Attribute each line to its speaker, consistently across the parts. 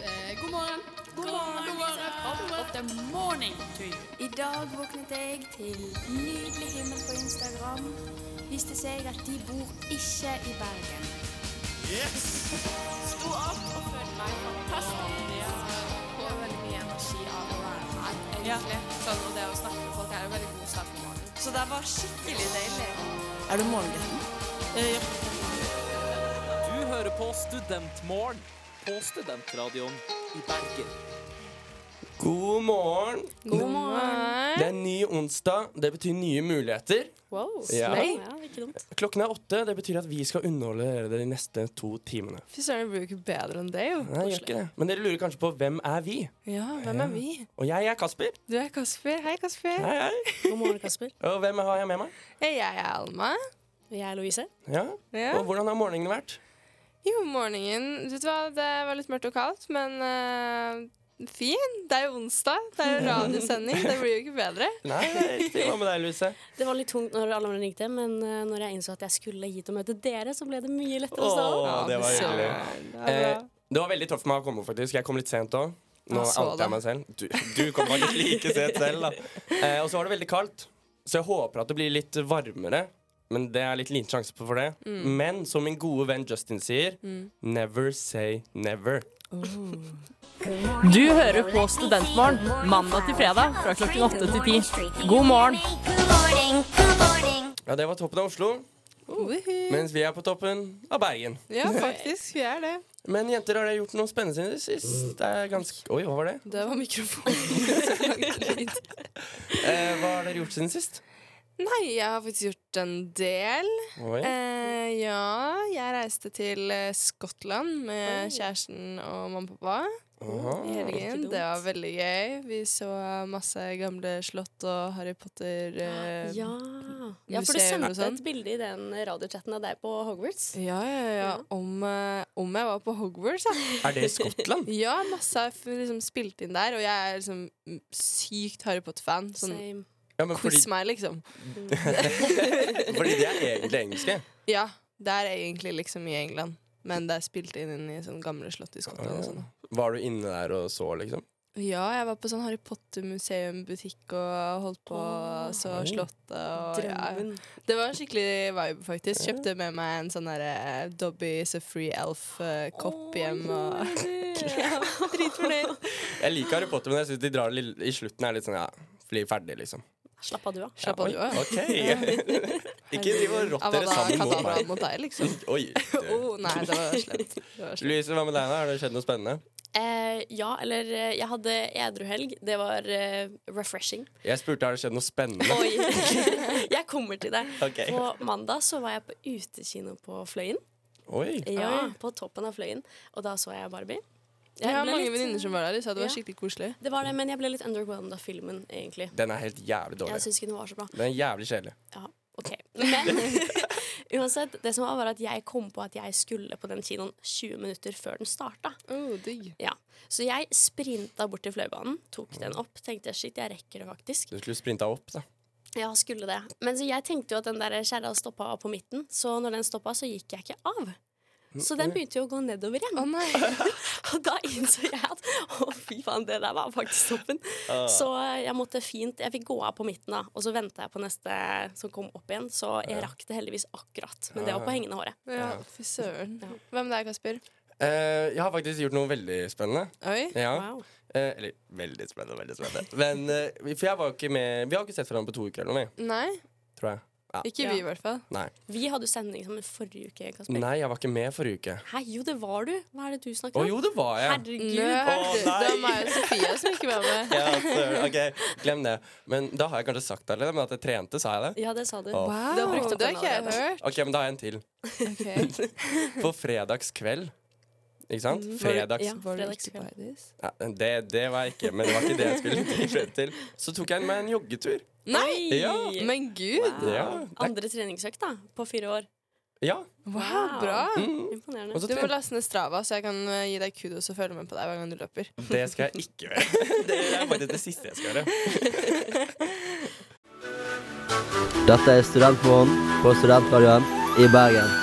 Speaker 1: morgen. God morgen. God morgen. Of the morning to you.
Speaker 2: I dag våknet jeg til nydelig himmel på Instagram. Viste seg at de bor ikke i Bergen.
Speaker 1: Sto opp og følte meg fantastisk. Jeg får veldig mye energi av å være her, egentlig. Sånn, og det å snakke med folk er en veldig god start på morgenen.
Speaker 3: Så det var skikkelig deilig.
Speaker 4: Er du morgengutten?
Speaker 5: Du hører på Studentmorgen på Studentradioen i Bergen.
Speaker 6: God morgen.
Speaker 7: God morgen.
Speaker 6: Det er ny onsdag. Det betyr nye muligheter.
Speaker 7: Wow.
Speaker 6: Ja.
Speaker 7: Slay. Ja, ikke dumt.
Speaker 6: Klokken er åtte. Det betyr at vi skal underholde dere de neste to timene.
Speaker 7: Fy søren, det blir jo ikke bedre enn det, jo.
Speaker 6: Nei, jeg gjør ikke det. Men dere lurer kanskje på hvem er vi?
Speaker 7: Ja, hvem er vi?
Speaker 6: Og jeg er Kasper.
Speaker 7: Du er Kasper. Hei, Kasper.
Speaker 6: Hei, hei.
Speaker 7: God morgen, Kasper.
Speaker 6: Og hvem har jeg med meg?
Speaker 7: Hei, jeg er Alma.
Speaker 8: Jeg er Louise.
Speaker 6: Ja.
Speaker 7: Ja.
Speaker 6: Og hvordan har morgenen vært?
Speaker 7: Jo, morgenen. Du vet hva, det var litt mørkt og kaldt, men eh, fin. Det er jo onsdag. Det er jo radiosending. Det blir jo ikke bedre.
Speaker 6: Nei, det er riktig. Hva med deg, Louise?
Speaker 8: Det var litt tungt når alle andre ringte, men eh, når jeg innså at jeg skulle hit og møte dere, så ble det mye lettere å stå opp.
Speaker 6: Åh, det var hyggelig. Eh, det var veldig tøft for meg å komme opp, faktisk. Jeg kom litt sent òg. Nå
Speaker 7: Jeg så
Speaker 6: outer
Speaker 7: det.
Speaker 6: jeg meg selv. Du, du kom faktisk like sent selv, da. Eh, og så var det veldig kaldt, så jeg håper at det blir litt varmere. Men det er litt liten sjanse på for det.
Speaker 7: Mm.
Speaker 6: Men som min gode venn Justin sier, never say never.
Speaker 9: Du hører på Studentmorgen mandag til fredag fra klokken åtte til ti. God morgen!
Speaker 6: Ja, det var toppen av Oslo,
Speaker 7: Woohoo.
Speaker 6: mens vi er på toppen av Bergen.
Speaker 7: Ja, faktisk. Vi er det.
Speaker 6: Men jenter, har dere gjort noe spennende siden sist? Det er ganske Oi, hva var det?
Speaker 7: Det var mikrofonen.
Speaker 6: Eh, hva har dere gjort siden sist?
Speaker 7: Nei, jeg har faktisk gjort en del.
Speaker 6: Oi.
Speaker 7: Eh, ja, jeg reiste til eh, Skottland med kjæresten og mamma og pappa
Speaker 6: Aha.
Speaker 7: i helgen.
Speaker 8: dumt.
Speaker 7: Det var veldig gøy. Vi så masse gamle slott og Harry Potter. eh,
Speaker 8: Ja. ja, for du
Speaker 7: museum og
Speaker 8: sendte
Speaker 7: sånn.
Speaker 8: et bilde i den radiochatten av deg på Hogwarts.
Speaker 7: Ja, ja, ja. Om, eh, om jeg var på Hogwarts, ja.
Speaker 6: Er det Skottland?
Speaker 7: Ja, masse er f- liksom spilt inn der, og jeg er liksom mm, sykt Harry Potter-fan. Sånn
Speaker 8: Same.
Speaker 6: Ja, men fordi,
Speaker 7: quiz meg, liksom.
Speaker 6: fordi de er egentlig engelske.
Speaker 7: Ja, det er egentlig liksom i England. Men det er spilt inn, i sånn gamle slott i Skottland. og sånn.
Speaker 6: Var du inne der og så, liksom?
Speaker 7: Ja, jeg var på sånn Harry Potter-museum-butikk og holdt på så
Speaker 6: Oi.
Speaker 7: Slottet. Og, ja.
Speaker 8: Drømmen.
Speaker 7: Det var en skikkelig vibe, faktisk. Kjøpte med meg en sånn derre Dobby is a free elf-kopp hjem. Og
Speaker 8: Dritfornøyd.
Speaker 6: Jeg liker Harry Potter, men jeg synes de drar det litt, i slutten er litt sånn, ja, bli ferdig, liksom.
Speaker 8: Slapp av, du, da.
Speaker 7: slapp av, du òg.
Speaker 6: Ok. Ikke driv og rotte dere sammen mot
Speaker 7: Kadabra
Speaker 6: meg.
Speaker 7: mot deg, liksom.
Speaker 6: Oi.
Speaker 7: Å, nei, det var slemt. Det var slemt.
Speaker 6: Louise, hva med deg? nå? Har det skjedd noe spennende?
Speaker 8: Eh, ja, eller eh, jeg hadde edruhelg. Det var eh, refreshing.
Speaker 6: Jeg spurte har det skjedd noe spennende.
Speaker 8: Oi! jeg kommer til det.
Speaker 6: Ok.
Speaker 8: På mandag så var jeg på utekino på Fløyen.
Speaker 6: Oi.
Speaker 8: Ja, På toppen av Fløyen. Og da så jeg Barbie.
Speaker 7: Jeg har
Speaker 8: ble
Speaker 7: mange
Speaker 8: litt-
Speaker 7: venninner som var der, de sa det var
Speaker 8: Ja.
Speaker 7: skikkelig koselig.
Speaker 8: Det var det, men jeg ble litt underwhelmed av filmen, egentlig.
Speaker 6: Den er helt jævlig
Speaker 8: Jeg
Speaker 6: dårlig.
Speaker 8: syns ikke den var så bra.
Speaker 6: Den er jævlig kjedelig.
Speaker 8: Ja, ok. Men uansett, det som var, var at jeg kom på at jeg skulle på den kinoen 20 minutter før den starta.
Speaker 7: Oh, digg.
Speaker 8: Ja. Så jeg sprinta bort til fløibanen, tok den opp, tenkte shit, jeg rekker det faktisk.
Speaker 6: Du skulle sprinta opp, da.
Speaker 8: Ja, skulle det. Men så jeg tenkte jo at den der kjerra stoppa på midten, så når den stoppa, så gikk jeg ikke av. Så den begynte jo å gå nedover igjen. og da innså jeg at å, fy faen, det der var faktisk toppen.
Speaker 6: Ah.
Speaker 8: Så eh, jeg måtte fint Jeg fikk gå av på midten, da, og så venta jeg på neste som kom opp igjen. Så jeg rakk det heldigvis akkurat. Men
Speaker 6: Ah.
Speaker 8: det var på hengende håret.
Speaker 7: Ja, fy søren. Hvem det er, Kasper?
Speaker 6: Eh, jeg har faktisk gjort noe veldig spennende.
Speaker 7: Oi.
Speaker 6: Ja.
Speaker 8: Wow.
Speaker 6: Eh, eller veldig spennende, veldig spennende. Men, eh, for jeg var ikke med Vi har ikke sett hverandre på to uker eller noe, vi,
Speaker 7: Nei,
Speaker 6: tror jeg. Ja.
Speaker 7: ikke vi, i hvert fall.
Speaker 6: Nei.
Speaker 8: Vi hadde jo sending sammen forrige uke, Kasper.
Speaker 6: Nei, jeg var ikke med forrige uke.
Speaker 8: Hei, jo, det var du. Hva er det du
Speaker 6: Å
Speaker 8: snakker om?
Speaker 6: jo, det var jeg.
Speaker 8: Herregud.
Speaker 7: Nø, hørte du? Det var
Speaker 6: nei.
Speaker 7: meg og Sofia som ikke var med.
Speaker 6: Ja, søren. ok, glem det. Men da har jeg kanskje sagt det allerede, men at jeg trente, sa jeg det?
Speaker 8: Ja, det sa du.
Speaker 6: Å.
Speaker 7: Wow,
Speaker 8: Du har brukt opp
Speaker 7: det
Speaker 8: den
Speaker 7: har ikke jeg hørt.
Speaker 6: Ok, men da har jeg en til. På fredagskveld. Ikke
Speaker 7: Mm.
Speaker 6: sant? Fredags...
Speaker 8: Ja, fredagskveld.
Speaker 6: Ja, det, det var jeg ikke, men det var ikke det jeg skulle frem til. Så tok jeg meg en joggetur.
Speaker 7: Nei!
Speaker 6: Ja.
Speaker 7: Men gud!
Speaker 6: Ja, det,
Speaker 8: Andre treningsøkt, da. På fire år.
Speaker 6: ja. mm.
Speaker 7: Wow, bra!
Speaker 6: Og
Speaker 8: Imponerende.
Speaker 6: så
Speaker 7: Du må
Speaker 6: trente
Speaker 7: laste ned Strava, så jeg kan eh, gi deg kudos og følge med på deg hver gang du løper.
Speaker 6: Det skal jeg ikke gjøre. Det er bare det siste jeg skal gjøre.
Speaker 10: Dette er Studentmorgen på Studentradioen i Bergen.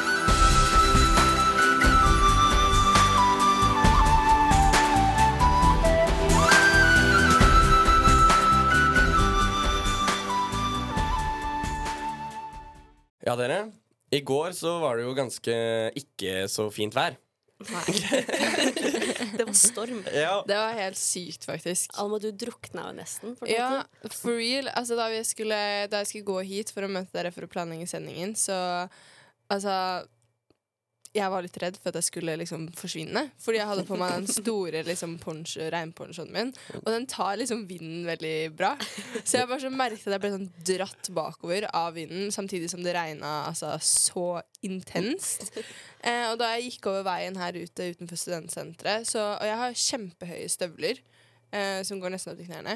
Speaker 6: I går så var det jo ganske ikke så fint vær.
Speaker 8: Det var storm.
Speaker 6: Ja.
Speaker 7: Det var helt sykt, faktisk.
Speaker 8: Alma, du drukna jo nesten. fortalte
Speaker 7: Ja, for real. Altså, da, vi skulle, da jeg skulle gå hit for å møte dere for å planlegge sendingen, så Altså Jeg var litt redd for at jeg skulle liksom forsvinne. Fordi jeg hadde på meg den store liksom, poncho, regnponchoen min, og den tar liksom vinden veldig bra. Så jeg bare så merket at jeg ble sånn dratt bakover av vinden, samtidig som det regna altså, så intenst. Eh, og da jeg gikk over veien her ute utenfor studentsenteret, så Og jeg har kjempehøye støvler. Eh, som går nesten opp til knærne.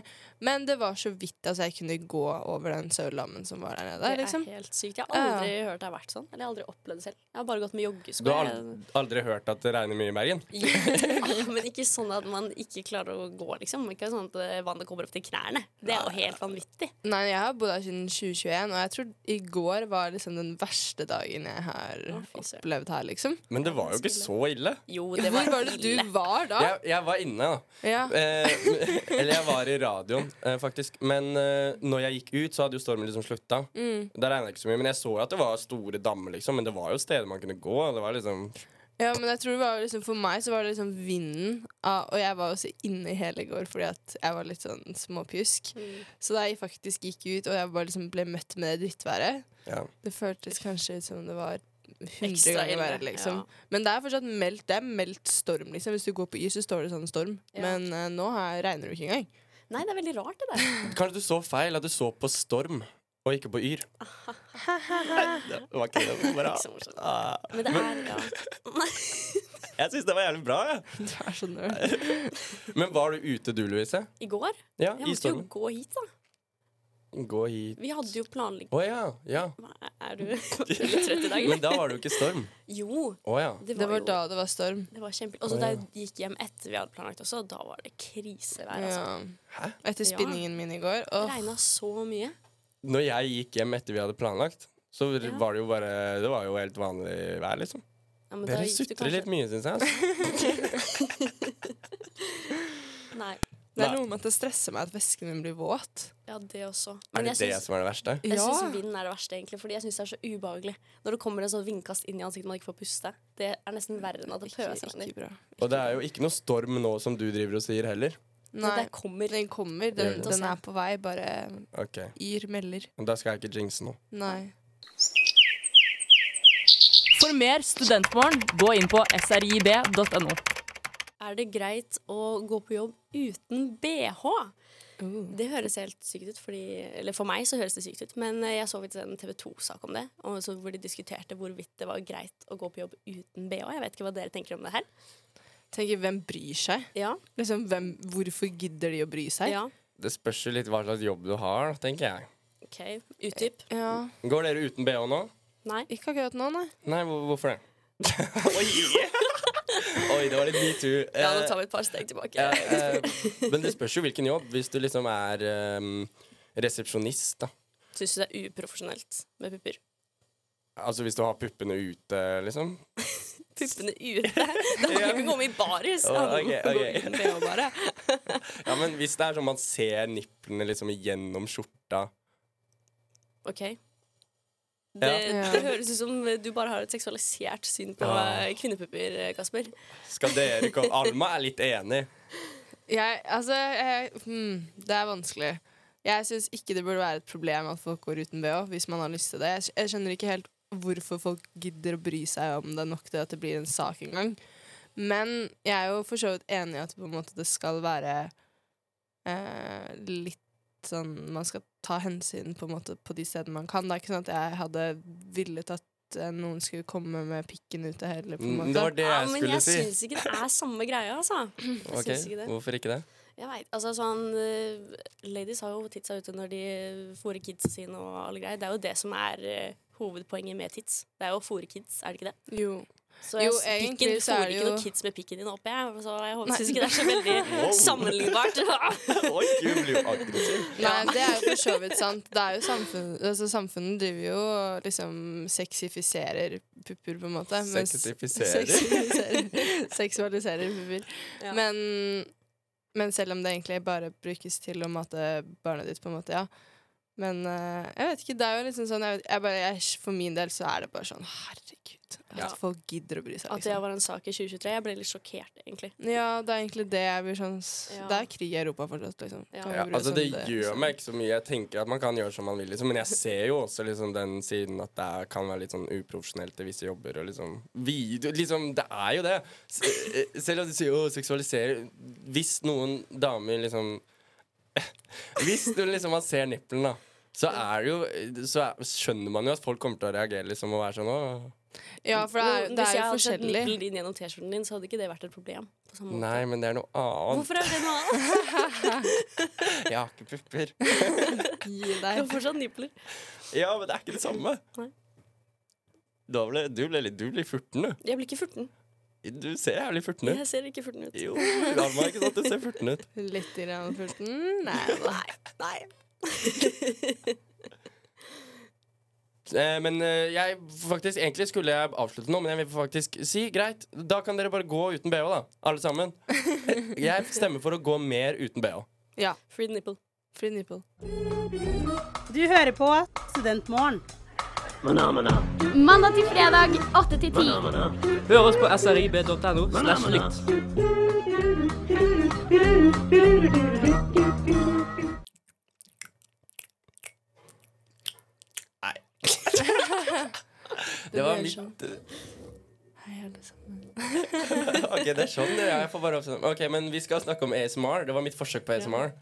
Speaker 7: Men det var så vidt altså, jeg kunne gå over den sauelammen som var der
Speaker 8: Det
Speaker 7: nede.
Speaker 8: er
Speaker 7: Liksom.
Speaker 8: helt sykt. Jeg har aldri hørt det har vært sånn. Eller jeg har aldri opplevd det selv. Jeg har bare gått med joggesko.
Speaker 6: Du har aldri, aldri hørt at det regner mye i Bergen?
Speaker 8: Ja, Men ikke sånn at man ikke klarer å gå, liksom. Ikke sånn at eh, vannet kommer opp til knærne. Det er jo helt vanvittig.
Speaker 7: Nei, jeg har bodd her siden 2021, og jeg tror i går var liksom den verste dagen jeg har
Speaker 8: Å, fy søren.
Speaker 7: opplevd her, liksom.
Speaker 6: Men det var jo ikke så ille.
Speaker 8: Jo, det
Speaker 7: Hvor
Speaker 8: var,
Speaker 7: var det
Speaker 8: ille.
Speaker 7: du var da?
Speaker 6: Jeg, jeg var inne, da.
Speaker 7: Ja.
Speaker 6: Eh, eller jeg var i radioen, eh, faktisk. Men eh, når jeg gikk ut, så hadde jo stormen liksom slutta.
Speaker 7: Mm.
Speaker 6: Det regnet ikke så mye, men jeg så jo at det var store dammer, liksom. Men det var jo steder man kunne gå. Det var liksom
Speaker 7: ja, men jeg tror det var liksom, for meg så var det liksom vinden, av, og jeg var også inne i hele går fordi at jeg var litt sånn småpjusk.
Speaker 8: Mm.
Speaker 7: Så da jeg faktisk gikk ut, og jeg bare liksom ble møtt med det drittværet,
Speaker 6: ja.
Speaker 7: det føltes kanskje ut som det var 100
Speaker 8: Ekstra
Speaker 7: ganger
Speaker 8: ille,
Speaker 7: verre, liksom.
Speaker 8: ja.
Speaker 7: Men det er fortsatt meldt, det er meldt storm, liksom. Hvis du går på Y, så står det sånn storm.
Speaker 8: Ja.
Speaker 7: Men eh, nå her regner det jo ikke engang.
Speaker 8: Nei, det er veldig rart, det der.
Speaker 6: Kanskje du så feil, at du så på Storm og ikke på Yr. det var ikke det bra.
Speaker 8: Ikke så morsomt.
Speaker 6: Ah,
Speaker 8: Men det er ja.
Speaker 6: jeg syns det var jævlig bra, jeg.
Speaker 7: Du er
Speaker 8: sånn
Speaker 7: så nerd.
Speaker 6: Men var du ute du, Louise?
Speaker 8: I går
Speaker 6: Ja,
Speaker 8: Jeg
Speaker 6: i
Speaker 8: måtte jo
Speaker 6: stormen.
Speaker 8: gå hit, da.
Speaker 6: Gå hit
Speaker 8: Vi hadde jo planlagt
Speaker 6: Å ja, ja.
Speaker 8: Hva- Er du veldig trøtt i dag,
Speaker 6: Men
Speaker 8: eller?
Speaker 6: da var det jo ikke storm.
Speaker 8: Jo,
Speaker 6: Å ja.
Speaker 7: Det
Speaker 8: det var,
Speaker 7: var
Speaker 8: jo
Speaker 7: da det var storm.
Speaker 8: Det var kjempe... Og så
Speaker 6: Å,
Speaker 8: da
Speaker 6: ja.
Speaker 8: jeg gikk hjem etter vi hadde planlagt også, da var det krisevær, altså.
Speaker 7: Ja.
Speaker 6: Hæ?
Speaker 7: Etter
Speaker 8: Ja.
Speaker 7: spinningen min i går.
Speaker 8: Det
Speaker 7: Og
Speaker 8: regna så mye.
Speaker 6: Når jeg gikk hjem etter vi hadde planlagt, så
Speaker 8: Ja.
Speaker 6: var det jo bare Det var jo helt vanlig vær, liksom.
Speaker 8: Ja, men da
Speaker 6: Dere
Speaker 8: gikk du
Speaker 6: sutrer litt
Speaker 8: kanskje-
Speaker 6: mye, syns jeg. Altså.
Speaker 8: Nei.
Speaker 7: det er noe med at det stresser meg at vesken min blir våt.
Speaker 8: Ja, det også.
Speaker 6: Er
Speaker 8: Men
Speaker 6: det
Speaker 8: jeg
Speaker 6: det
Speaker 8: syns-
Speaker 6: som er det verste?
Speaker 8: Jeg
Speaker 7: Ja.
Speaker 8: syns vind er det verste, egentlig, fordi jeg syns det er så ubehagelig. Når det kommer en sånn vindkast inn i ansiktet man ikke får puste. Det er nesten verre enn at det
Speaker 7: Ikke,
Speaker 8: pøser
Speaker 7: ikke
Speaker 8: ned.
Speaker 7: bra.
Speaker 6: Og det er jo ikke noe storm nå som du driver og sier heller.
Speaker 8: Det
Speaker 7: Nei,
Speaker 8: der kommer.
Speaker 7: den kommer. Den,
Speaker 6: Gjør det.
Speaker 7: den er på vei. Bare
Speaker 6: Ok,
Speaker 7: yr melder.
Speaker 6: men Da skal jeg ikke jinxe nå.
Speaker 7: Nei.
Speaker 9: For mer studentmorgen, gå inn på srib.no.
Speaker 8: Er det greit å gå på jobb uten BH?
Speaker 7: Uh.
Speaker 8: Det høres helt sykt ut, fordi, eller for meg så høres det sykt ut, men eh, jeg så vidt en TV 2-sak om det, og så hvor de diskuterte hvorvidt det var greit å gå på jobb uten BH. Jeg vet ikke hva dere tenker om det her.
Speaker 7: Tenker, hvem bryr seg?
Speaker 8: Ja,
Speaker 7: Liksom, hvem, hvorfor gidder de å bry seg?
Speaker 8: ja.
Speaker 6: Det spørs jo litt hva slags jobb du har, da, tenker jeg.
Speaker 8: OK. Utdyp.
Speaker 7: Ja.
Speaker 6: Går dere uten BH nå?
Speaker 8: Nei.
Speaker 7: Ikke akkurat nå, nei.
Speaker 6: Nei, hvor, hvorfor det? Oi, det var litt metoo.
Speaker 8: Ja, nå tar vi et par steg tilbake.
Speaker 6: Eh, eh, men det spørs jo hvilken jobb. Hvis du liksom er ehm, resepsjonist, da.
Speaker 8: Syns du det er uprofesjonelt med pupper?
Speaker 6: Altså hvis du har puppene ute, liksom.
Speaker 8: Puppene ute? Det handler ikke om å komme i baris. Det
Speaker 6: Å,
Speaker 8: handler om
Speaker 6: ok,
Speaker 8: å gå
Speaker 6: ok.
Speaker 8: uten BH bare.
Speaker 6: Ja, men hvis det er sånn man ser nipplene liksom gjennom skjorta
Speaker 8: OK. Det,
Speaker 7: Ja.
Speaker 8: det høres ut som du bare har et seksualisert syn på
Speaker 6: Ah.
Speaker 8: eh, kvinnepupper, eh, Kasper.
Speaker 6: Skal dere komme Alma er litt enig.
Speaker 7: Jeg, altså, jeg, hmm, det er vanskelig. Jeg syns ikke det burde være et problem at folk går uten bh, hvis man har lyst til det. Jeg, skj- jeg skjønner ikke helt hvorfor folk gidder å bry seg om det nok til at det blir en sak engang. Men jeg er jo for så vidt enig i at på en måte det skal være eh, litt sånn Man skal ta hensyn på en måte på de stedene man kan. Det er ikke sånn at jeg hadde villet at eh, noen skulle komme med pikken ute heller, på en
Speaker 6: Mm,
Speaker 7: måte.
Speaker 6: Det var det
Speaker 8: Ja,
Speaker 6: jeg
Speaker 8: men
Speaker 6: skulle
Speaker 8: jeg
Speaker 6: si.
Speaker 8: syns ikke det er samme greia, altså. Jeg
Speaker 6: Ok,
Speaker 8: syns ikke det.
Speaker 6: Hvorfor ikke det?
Speaker 8: Jeg vet, altså sånn eh, Ladies har jo titsa ute når de fôrer kidsa sine og alle greier. Det er jo det som er eh, hovedpoenget med tits. Det er jo å fôre kids, er det ikke det?
Speaker 7: Jo.
Speaker 8: Så jeg,
Speaker 7: Jo,
Speaker 8: pikken,
Speaker 7: egentlig
Speaker 8: du
Speaker 7: så er
Speaker 8: fôrer
Speaker 7: det
Speaker 8: ikke
Speaker 7: jo-
Speaker 8: noen kids med pikken din opp, jeg. Så jeg syns ikke det er så veldig sammenlignbart.
Speaker 6: Oi, Gud, blir jo aggressiv.
Speaker 7: Nei, det er jo for så vidt sant. Det er jo samfunn, altså, samfunnet driver jo og liksom sexifiserer pupper, på en måte. mens-
Speaker 6: Sexifiserer?
Speaker 7: Sexifiserer. Seksualiserer pupper.
Speaker 8: Ja.
Speaker 7: Men, men selv om det egentlig bare brukes til å mate barnet ditt, på en måte, ja. Men eh, jeg vet ikke, det er jo liksom sånn jeg vet, jeg bare, jeg, For min del så er det bare sånn Herregud, at
Speaker 8: Ja.
Speaker 7: folk gidder å bry seg.
Speaker 8: At det
Speaker 7: Liksom.
Speaker 8: var en sak i 2023. Jeg ble litt sjokkert, egentlig.
Speaker 7: Ja, det er egentlig det jeg blir sånn s-
Speaker 8: Ja.
Speaker 7: Det er krig i Europa fortsatt, liksom.
Speaker 8: Ja.
Speaker 7: Kan vi
Speaker 6: Ja,
Speaker 7: bry oss
Speaker 6: altså
Speaker 7: om
Speaker 6: Det gjør meg ikke så mye. Jeg tenker at man kan gjøre som man vil, liksom. men jeg ser jo også liksom, den siden at det er- kan være litt sånn uprofesjonelt i visse jobber. Og liksom, video, liksom, det er jo det. S eh, selv om de sier å seksualisere Hvis noen damer liksom Hvis du liksom man ser nippelen, da, så er det jo Så er, skjønner man jo at folk kommer til å reagere liksom og være sånn å
Speaker 7: Ja, for det er,
Speaker 8: Men
Speaker 7: det
Speaker 8: Hvis
Speaker 7: er jo
Speaker 8: jeg hadde sett
Speaker 7: forskjellig.
Speaker 8: nippelen din gjennom T-skjorten din, så hadde ikke det vært et problem. På samme måte.
Speaker 6: Nei, men det er noe annet.
Speaker 8: Hvorfor er det noe annet?
Speaker 6: Jeg har ikke pupper.
Speaker 7: Gi
Speaker 8: Du
Speaker 7: deg.
Speaker 8: har fortsatt nipler.
Speaker 6: Ja, men det er ikke det samme.
Speaker 8: Nei.
Speaker 6: Da ble, du ble litt Du blir furten, du.
Speaker 8: Jeg blir ikke 14.
Speaker 6: Du ser jævlig furten ut.
Speaker 8: Jeg ser ikke 14 ut.
Speaker 6: Jo, Alma, ikke sant? Du ser furten ut.
Speaker 7: Litt i rann furten. Nei da.
Speaker 8: Nei.
Speaker 6: Eh, men eh, jeg faktisk, egentlig skulle jeg avslutte nå, men jeg vil faktisk si greit. Da kan dere bare gå uten bh, da. Alle sammen. Eh, Jeg stemmer for å gå mer uten bh.
Speaker 7: Ja.
Speaker 8: Free nipple.
Speaker 7: Free nipple.
Speaker 4: Du hører på Studentmorgen.
Speaker 9: Mandag til fredag, 8 til 10.
Speaker 5: Hør oss på srib.no slash lytt.
Speaker 6: Det var
Speaker 7: blir
Speaker 6: mitt
Speaker 7: sånn. Hei, alle sammen.
Speaker 6: Ok, det er sånn. det er. Jeg får bare oppsette- Ok, Men vi skal snakke om ASMR. Det var mitt forsøk på ASMR.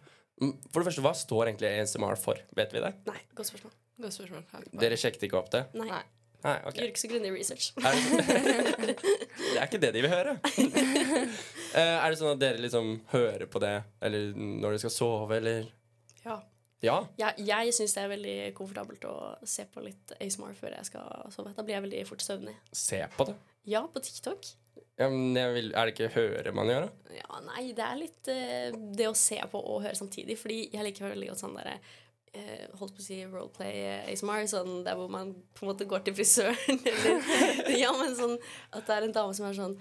Speaker 6: Mm, For det første, hva står egentlig ASMR for? Vet vi det?
Speaker 8: Nei, godt spørsmål.
Speaker 7: Godt spørsmål. Har ikke
Speaker 6: Dere sjekket ikke opp det?
Speaker 8: Nei.
Speaker 7: Nei.
Speaker 6: Nei, ok.
Speaker 8: Gjør ikke så grundig research.
Speaker 6: Er det, det er ikke det de vil høre. Eh, er det sånn at dere liksom hører på det Eller når dere skal sove, eller
Speaker 8: Ja.
Speaker 6: Ja?
Speaker 8: Jeg, jeg syns det er veldig komfortabelt å se på litt ASMR før jeg skal sove. Da blir jeg veldig fort søvnig.
Speaker 6: Se på det.
Speaker 8: Ja, på TikTok.
Speaker 6: Ja, men jeg vil, er det ikke høre man gjør, da?
Speaker 8: Ja, nei, det er litt eh, det å se på og høre samtidig. Fordi jeg liker veldig godt sånn derre eh, Holdt på å si roleplay eh, ASMR, sånn der hvor man på en måte går til frisøren, eller Ja, men sånn at det er en dame som er sånn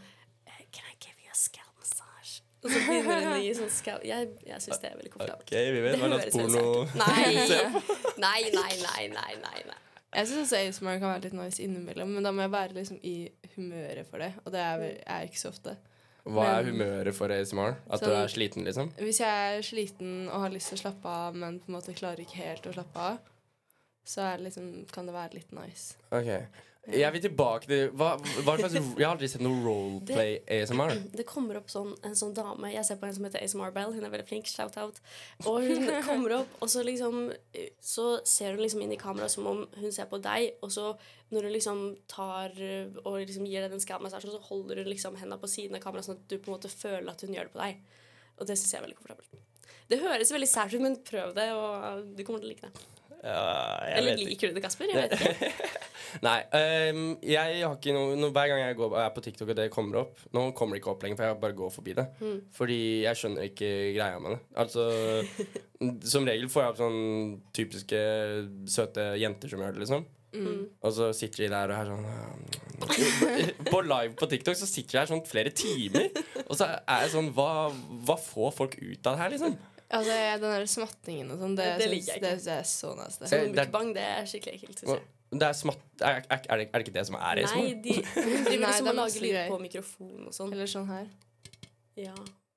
Speaker 8: eh, Can I give you a scalp massage? Og så begynner hun å gi sånn scalp Jeg, jeg syns det er veldig komfortabelt.
Speaker 6: Ok, vi vet
Speaker 8: Det
Speaker 6: hva
Speaker 8: høres
Speaker 6: slags
Speaker 8: helt
Speaker 6: porno
Speaker 8: sært ut. Nei. nei, nei, nei, nei, nei, nei.
Speaker 7: Jeg syns ASMR kan være litt nice innimellom, men da må jeg være liksom i humøret for det. Og det er vel- er jeg ikke så ofte.
Speaker 6: Hva er humøret for ASMR? At du
Speaker 7: Sånn-
Speaker 6: er sliten, liksom?
Speaker 7: Hvis jeg er sliten og har lyst til å slappe av, men på en måte klarer ikke helt å slappe av, så er det liksom, kan det være litt nice.
Speaker 6: Ok. Jeg vil tilbake til hva, hva slags, Jeg har aldri sett noe roleplay ASMR.
Speaker 8: Det kommer opp sånn, en sånn dame Jeg ser på en som heter ASMR Bell. Hun er veldig flink. Shout-out. Og hun kommer opp, og så liksom eh, Så ser hun liksom inn i kamera som om hun ser på deg, og så når hun liksom tar eh, og liksom gir deg den skallmassasjen, så holder hun liksom henda på siden av kameraet, sånn at du på en måte føler at hun gjør det på deg. Og det syns jeg er veldig komfortabelt. Det høres veldig sært ut, men prøv det, og du kommer til å like det. Eller liker du det, Kasper? Jeg vet ikke.
Speaker 6: Nei. ehm, jeg har ikke noe, no, hver gang jeg går, er på TikTok og det kommer opp Nå kommer det ikke opp lenger, for jeg bare går forbi det.
Speaker 8: Mm.
Speaker 6: Fordi jeg skjønner ikke greia med det. Altså, Som regel får jeg opp sånn typiske søte jenter som gjør det, liksom.
Speaker 8: Mm.
Speaker 6: Og så sitter de der og er sånn På live på TikTok så sitter de her sånn flere timer. Og så er jeg sånn Hva, hva får folk ut av det her, liksom?
Speaker 7: Altså, jeg- Den der smattingen og sånn, det,
Speaker 8: Det
Speaker 7: syns-
Speaker 8: liker jeg ikke.
Speaker 7: det syns jeg er så nice. Det.
Speaker 6: Så-
Speaker 8: Sånn
Speaker 6: det er-
Speaker 8: mukbang, det er skikkelig ekkelt. Synes jeg.
Speaker 6: Det er, smatt, er, er, er, det, er det ikke det som er ASMR?
Speaker 8: Nei, de hun
Speaker 7: Nei,
Speaker 8: driver liksom
Speaker 7: det er masse
Speaker 8: og lager lyd
Speaker 7: greier.
Speaker 8: på mikrofon og sånn.
Speaker 7: Eller sånn her.
Speaker 8: Ja,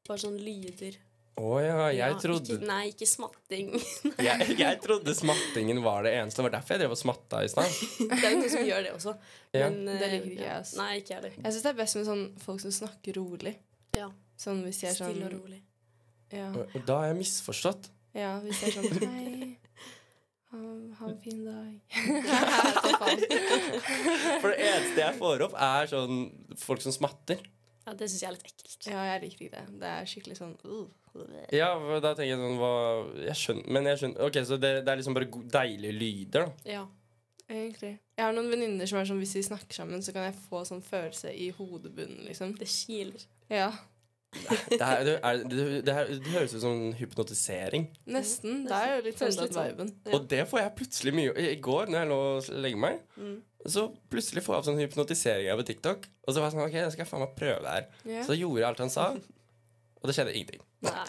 Speaker 8: bare sånn lyder.
Speaker 6: Å ja, jeg
Speaker 8: ja,
Speaker 6: trodde
Speaker 8: ikke, Nei, ikke smatting.
Speaker 6: jeg, jeg trodde smattingen var det eneste. Det var derfor jeg drev og smatta i stad.
Speaker 8: det er jo noen som gjør det også.
Speaker 6: Ja.
Speaker 8: Men, eh,
Speaker 7: Det liker ikke jeg, ass.
Speaker 8: Nei, ikke jeg heller.
Speaker 7: Jeg syns det er best med sånn folk som snakker rolig.
Speaker 8: Ja.
Speaker 7: Sånn hvis de er sånn
Speaker 8: Stille og rolig.
Speaker 7: Ja,
Speaker 6: Og- og Da har jeg misforstått.
Speaker 7: ja hvis de er sånn Hei, ha, ha en fin dag. Så faen.
Speaker 6: For det eneste jeg får opp, er sånn folk som smatter.
Speaker 8: Ja, det syns jeg er litt ekkelt.
Speaker 7: ja, jeg liker ikke det. Det er skikkelig sånn uh.
Speaker 6: Ja, og da tenker jeg sånn hva, jeg skjønner, Men jeg skjønner Ok, så det, det er liksom bare go- deilige lyder, da.
Speaker 8: Ja.
Speaker 7: Egentlig. Jeg har noen venninner som er sånn hvis vi snakker sammen, så kan jeg få sånn følelse i hodebunnen, liksom.
Speaker 8: Det kiler.
Speaker 7: Ja,
Speaker 6: Det, er, det, er, det, det, er, det høres ut som hypnotisering.
Speaker 7: nesten. Det er jo litt sånn
Speaker 8: Føles
Speaker 7: den
Speaker 8: litt sånn.
Speaker 7: viben.
Speaker 8: Ja.
Speaker 6: Og det får jeg plutselig mye I i går når jeg lå og legger meg,
Speaker 8: Mm.
Speaker 6: så plutselig får jeg opp sånn hypnotisering av på TikTok. Og så var jeg sånn OK, da skal jeg faen meg prøve det her.
Speaker 7: Ja.
Speaker 6: Så da gjorde jeg alt han sa, og det skjedde ingenting.
Speaker 7: Nei.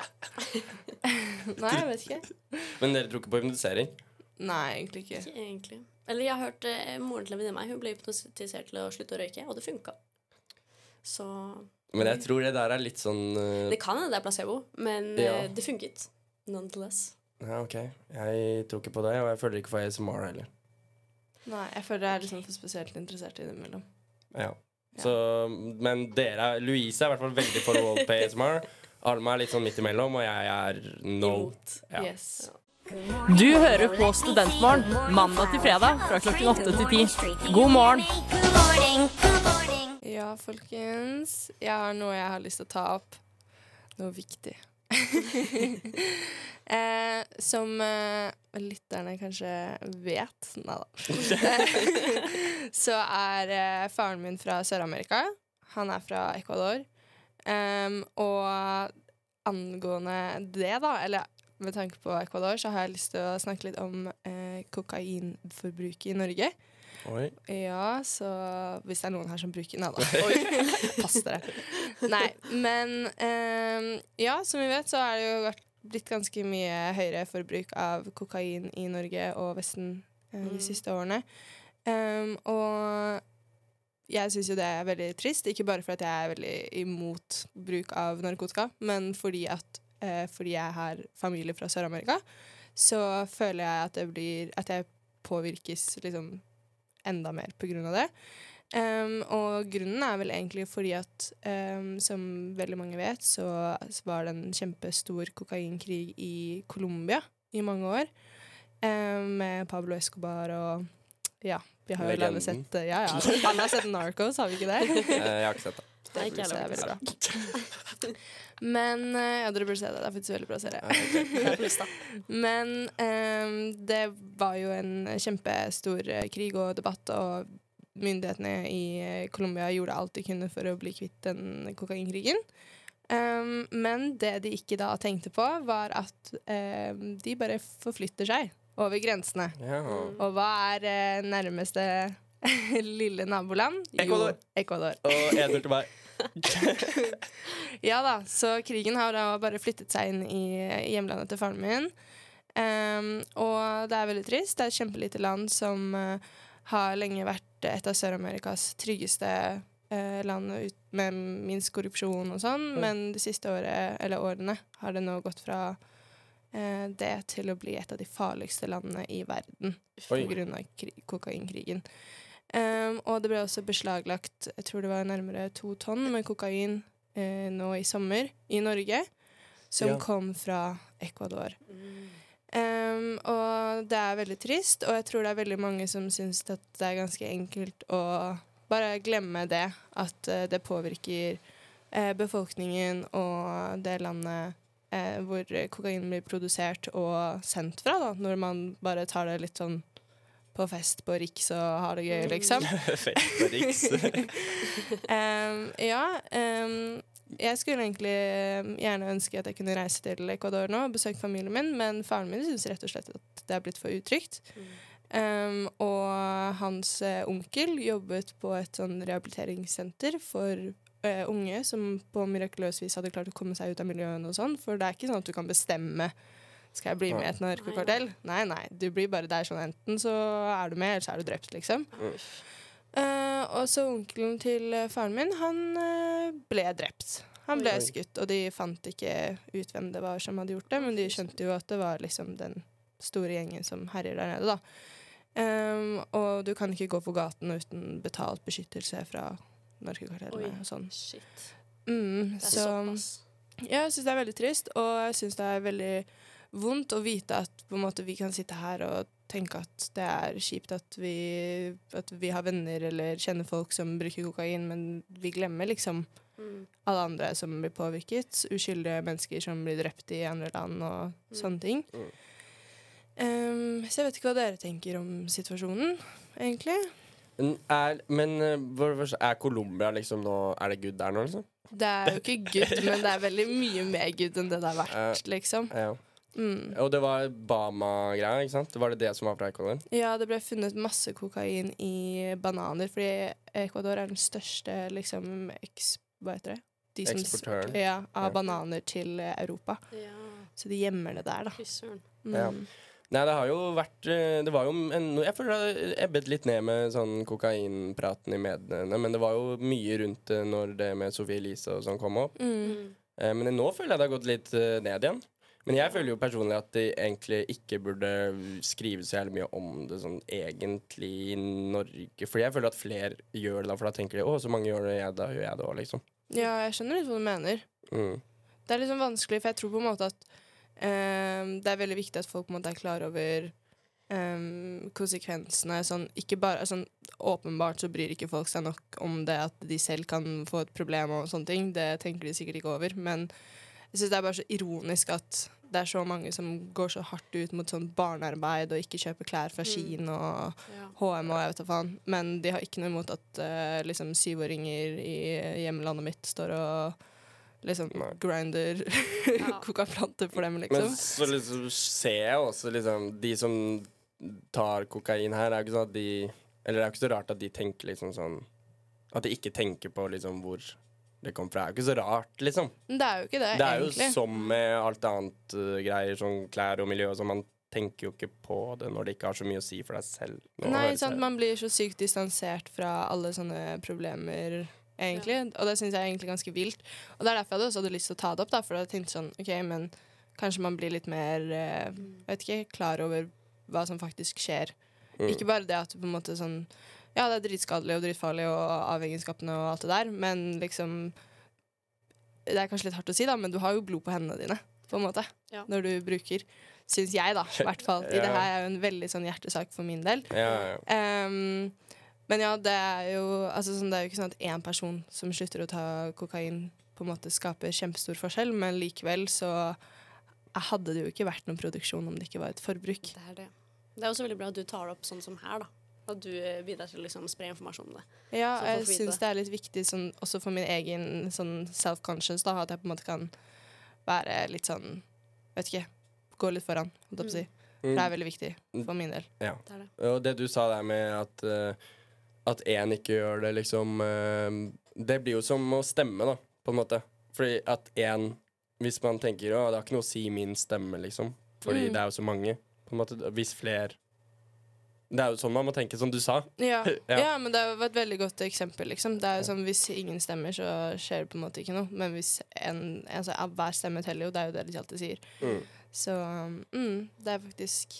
Speaker 7: Nei, jeg vet ikke.
Speaker 6: Men dere tror ikke på hypnotisering?
Speaker 7: Nei, egentlig ikke.
Speaker 8: Ikke egentlig. Eller jeg har hørt eh, moren til en venninne av meg Hun ble hypnotisert til å slutte å røyke, og det funka. Så
Speaker 6: Men jeg tror det der er litt sånn eh,
Speaker 8: Det kan hende det er placebo, men eh,
Speaker 6: Ja.
Speaker 8: det funket. Nonetheless.
Speaker 6: Ja, ok. Jeg tror ikke på det, og jeg føler ikke for ASMR heller.
Speaker 7: Nei, Jeg føler jeg er liksom for spesielt interessert i det imellom.
Speaker 6: Ja. Så, men dere er Louise er i hvert fall veldig for World Pay ASMR. Alma er litt sånn midt imellom, og jeg er no. Ja.
Speaker 7: Yes.
Speaker 9: Du hører på Studentmorgen mandag til fredag fra klokken åtte til ti. God morgen!
Speaker 7: Ja, folkens. Jeg har noe jeg har lyst til å ta opp. Noe viktig. eh, som eh, lytterne kanskje vet Nei da. Så er eh, faren min fra Sør-Amerika. Han er fra Ecuador. Em, og angående det, da, eller med tanke på Ecuador, så har jeg lyst til å snakke litt om eh, kokainforbruket i Norge.
Speaker 6: Oi.
Speaker 7: Ja, så hvis det er noen her som bruker Nei da. Oi, Pass dere. Nei, men ehm, ja, som vi vet, så er det jo vært- blitt ganske mye høyere forbruk av kokain i Norge og Vesten eh, de siste årene. Ehm, og jeg syns jo det er veldig trist, ikke bare fordi jeg er veldig imot bruk av narkotika, men fordi at eh, fordi jeg har familie fra Sør-Amerika, så føler jeg at det blir At jeg påvirkes liksom enda mer pga. det. Um, og grunnen er vel egentlig fordi at um, som veldig mange vet, så var det en kjempestor kokainkrig i Colombia i mange år. Um, med Pablo Escobar og Ja, vi har jo alle
Speaker 6: Legenden.
Speaker 7: sett Ja, ja. Alle har sett Narcos, har vi ikke det?
Speaker 6: Eh, Jeg har ikke sett det.
Speaker 8: Nei, ikke
Speaker 7: Så det er
Speaker 8: heller.
Speaker 7: veldig bra. Men eh, Ja, dere burde se det. Det er faktisk veldig bra serie.
Speaker 8: Jeg har lyst, da.
Speaker 7: Men ehm, det var jo en kjempestor eh, krig og debatt, og myndighetene i eh, Colombia gjorde alt de kunne for å bli kvitt den kokainkrigen. Ehm, men det de ikke da tenkte på, var at ehm, de bare forflytter seg over grensene.
Speaker 6: Ja.
Speaker 7: Og hva er eh, nærmeste lille naboland?
Speaker 6: Ecuador.
Speaker 7: Jo, Ecuador.
Speaker 6: Og en til meg.
Speaker 7: Ja da, så krigen har da bare flyttet seg inn i eh, hjemlandet til faren min. Ehm, og det er veldig trist. Det er et kjempelite land som eh, har lenge vært et av Sør-Amerikas tryggeste eh, land ut, med minst korrupsjon og sånn, men de siste året, eller årene har det nå gått fra eh, det til å bli et av de farligste landene i verden
Speaker 6: Oi.
Speaker 7: pga. kokainkrigen. Ehm, og det ble også beslaglagt jeg tror det var nærmere to tonn med kokain eh, nå i sommer i Norge, som
Speaker 6: Ja.
Speaker 7: kom fra Ecuador. Ehm, og det er veldig trist, og jeg tror det er veldig mange som syns at det er ganske enkelt å bare glemme det, at eh, det påvirker eh, befolkningen og det landet eh, hvor kokain blir produsert og sendt fra, da, når man bare tar det litt sånn på fest på Riks og har det gøy, liksom.
Speaker 6: Mm. Felix.
Speaker 7: Ehm, ja. ehm, jeg skulle egentlig ehm, gjerne ønske at jeg kunne reise til Ecuador nå og besøke familien min, men faren min syns rett og slett at det er blitt for utrygt. Ehm, og hans eh, onkel jobbet på et sånn rehabiliteringssenter for eh, unge som på mirakuløst vis hadde klart å komme seg ut av miljøene og sånn, for det er ikke sånn at du kan bestemme skal jeg bli med i et narkokartell? Nei, nei. Du blir bare der sånn enten så er du med, eller så er du drept, liksom. Eh, og så onkelen til eh, faren min, han eh, ble drept. Han ble skutt, og de fant ikke ut hvem det var som hadde gjort det, men de skjønte jo at det var liksom den store gjengen som herjer der nede, da. Ehm, og du kan ikke gå på gaten uten betalt beskyttelse fra narkokartellene og sånn.
Speaker 8: Shit.
Speaker 7: Mm,
Speaker 8: Det er
Speaker 7: så
Speaker 8: såpass.
Speaker 7: ja, jeg syns det er veldig trist, og jeg syns det er veldig vondt å vite at på en måte, vi kan sitte her og tenke at det er kjipt at vi, at vi har venner eller kjenner folk som bruker kokain, men vi glemmer liksom alle andre som blir påvirket. Uskyldige mennesker som blir drept i andre land og sånne ting. Um, så jeg vet ikke hva dere tenker om situasjonen, egentlig.
Speaker 6: Men Er, men eh, hvor- hvor- er Colombia liksom nå Er det good der nå, liksom?
Speaker 7: Det er jo ikke good, men det er veldig mye mer good enn det det har vært, liksom.
Speaker 6: Ja. Og det var Bama-greia, ikke sant? Var det det som var fra Ecuador?
Speaker 7: Ja, det ble funnet masse kokain i bananer, fordi Ecuador er den største liksom, eks, hva heter det? de som
Speaker 6: Eksportøren.
Speaker 7: ja, av
Speaker 6: Ja.
Speaker 7: bananer til eh, Europa. Så de gjemmer det der, da. Mm.
Speaker 6: Ja. Nei, det har jo vært eh, Det var jo en, Jeg føler det har ebbet litt ned med sånn kokainpraten i mediene, men det var jo mye rundt det når det med Sophie Elise og sånn kom opp.
Speaker 7: Mm.
Speaker 6: Eh, Men nå føler jeg det har gått litt eh, ned igjen. Men jeg føler jo personlig at de egentlig ikke burde skrive så jævlig mye om det sånn egentlig i Norge. For jeg føler at flere gjør det da, for da tenker de å, så mange gjør det, ja, da gjør jeg det òg, liksom.
Speaker 7: ja, jeg skjønner litt hva du mener.
Speaker 6: Mm.
Speaker 7: Det er liksom vanskelig, for jeg tror på en måte at ehm, det er veldig viktig at folk på en måte er klar over ehm, konsekvensene. Sånn, ikke bare, sånn, åpenbart så bryr ikke folk seg nok om det at de selv kan få et problem og sånne ting. Det tenker de sikkert ikke over. Men jeg synes det er bare så ironisk at det er så mange som går så hardt ut mot sånn barnearbeid og ikke kjøper klær fra Kina og HM og jeg vet da faen. Men de har ikke noe imot at eh, liksom syvåringer i hjemlandet mitt står og liksom grinder kokaplanter for dem,
Speaker 6: Men
Speaker 7: liksom.
Speaker 6: så liksom ser jeg også liksom De som tar kokain her, er jo ikke sånn at de Eller det er jo ikke så rart at de tenker liksom sånn At de ikke tenker på liksom hvor det kom fra. Det er jo ikke så rart, liksom.
Speaker 7: Men det er jo ikke det,
Speaker 6: Det er jo
Speaker 7: egentlig.
Speaker 6: som med alt annet eh, greier, som klær og miljø og sånn. Man tenker jo ikke på det når det ikke har så mye å si for deg selv. Nå
Speaker 7: Nei,
Speaker 6: høres
Speaker 7: sant?
Speaker 6: det-
Speaker 7: man blir så sykt distansert fra alle sånne problemer, egentlig. Og det syns jeg er egentlig ganske vilt. Og det er derfor jeg også hadde lyst til å ta det opp, da, for jeg tenkte sånn OK, men kanskje man blir litt mer eh, jeg vet ikke, klar over hva som faktisk skjer.
Speaker 6: Mm.
Speaker 7: Ikke bare det at du på en måte sånn Ja, det er dritskadelig og dritfarlig og avhengigskapende og alt det der, men liksom Det er kanskje litt hardt å si, da, men du har jo blod på hendene dine, på en måte,
Speaker 3: Ja.
Speaker 7: når du bruker. Syns jeg, da. I hvert fall. I
Speaker 6: Ja.
Speaker 7: det her er jo en veldig sånn hjertesak for min del.
Speaker 6: ja, ja.
Speaker 7: Ehm, men ja, det er jo altså, sånn, Det er jo ikke sånn at én person som slutter å ta kokain, på en måte skaper kjempestor forskjell, men likevel så hadde det jo ikke vært noen produksjon om det ikke var et forbruk.
Speaker 8: Det er det. Det er også veldig bra at du tar det opp sånn som her, da. At du eh, bidrar til å liksom, spre informasjon om det.
Speaker 7: Ja,
Speaker 8: Så
Speaker 7: jeg
Speaker 8: får vi vite.
Speaker 7: syns det er litt viktig sånn, også for min egen sånn self-conscious, da, at jeg på en måte kan være litt sånn Vet ikke. Gå litt foran, holdt jeg på å si.
Speaker 6: Mm.
Speaker 7: For det er veldig viktig for min del.
Speaker 6: Ja.
Speaker 8: Det er det.
Speaker 6: Og det du sa der med at eh, At én ikke gjør det, liksom eh, Det blir jo som å stemme, da, på en måte. Fordi at én Hvis man tenker å, det har ikke noe å si min stemme, liksom. Fordi
Speaker 8: Mm.
Speaker 6: det er jo så mange. På en måte, hvis flere Det er jo sånn man må tenke, som du sa.
Speaker 7: Ja.
Speaker 6: Ja.
Speaker 7: ja. men det var et veldig godt eksempel. Liksom. Det er jo sånn, Hvis ingen stemmer, så skjer det på en måte ikke noe. Men hvis en, altså, ja, hver stemme teller jo, det er jo det de alltid sier.
Speaker 6: Mm.
Speaker 7: Så mm, det er faktisk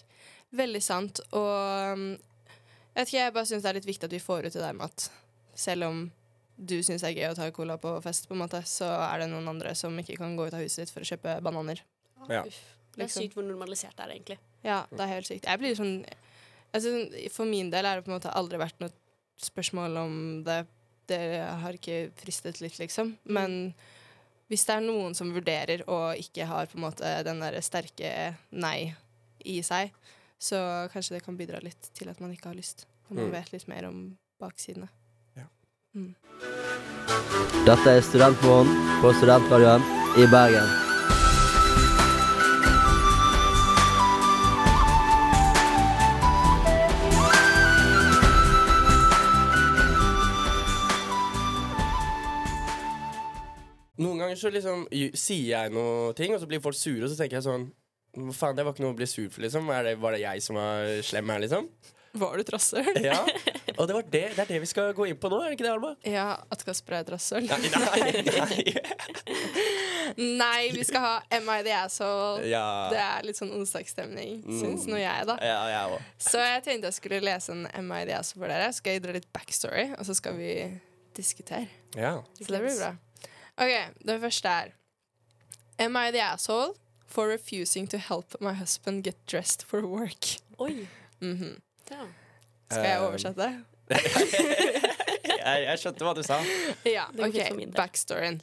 Speaker 7: veldig sant. Og mm, jeg vet ikke, jeg bare syns det er litt viktig at vi får ut det der med at selv om du syns det er gøy å ta cola på fest, på en måte, så er det noen andre som ikke kan gå ut av huset ditt for å kjøpe bananer.
Speaker 6: Ja.
Speaker 8: Uff. Det er
Speaker 7: Liksom.
Speaker 8: sykt hvor normalisert det er, egentlig.
Speaker 7: Ja, det er helt sykt. Jeg blir sånn altså, For min del er det på en måte aldri vært noe spørsmål om det. Det har ikke fristet litt, liksom. Men hvis det er noen som vurderer og ikke har på en måte den der sterke nei i seg, så kanskje det kan bidra litt til at man ikke har lyst. Og man
Speaker 6: Mm.
Speaker 7: vet litt mer om baksidene.
Speaker 10: Dette er Studentmorgen på Studentradioen i Bergen.
Speaker 6: Noen ganger så liksom y- sier jeg noe ting, og så blir folk sure, og så tenker jeg sånn Hva faen, det var ikke noe å bli sur for, liksom. Er det, var det jeg som var slem her, liksom?
Speaker 7: Var du et rasshøl?
Speaker 6: Ja. Og det, var det, det er det vi skal gå inn på nå, er det ikke det, Alma?
Speaker 7: Ja, at Kasper er et rasshøl.
Speaker 6: Nei, nei.
Speaker 7: Nei, vi skal ha Am I the Asshole.
Speaker 6: Ja. Mm.
Speaker 7: Det er litt sånn onsdagsstemning, syns nå jeg, da.
Speaker 6: Ja, jeg òg.
Speaker 7: Så jeg tenkte jeg skulle lese en Am I the Asshole for dere. Skal jeg dra litt backstory, og så skal vi diskutere.
Speaker 6: Ja.
Speaker 7: Så det blir bra. OK, det første er Am I the asshole for refusing to help my husband get dressed for work?
Speaker 8: Oi.
Speaker 7: Mhm.
Speaker 8: Ja.
Speaker 7: Skal jeg
Speaker 6: Um,
Speaker 7: oversette?
Speaker 6: Jeg, jeg skjønte hva du sa.
Speaker 7: Ja,
Speaker 8: går fint for
Speaker 7: ok,
Speaker 8: min del.
Speaker 7: backstoryen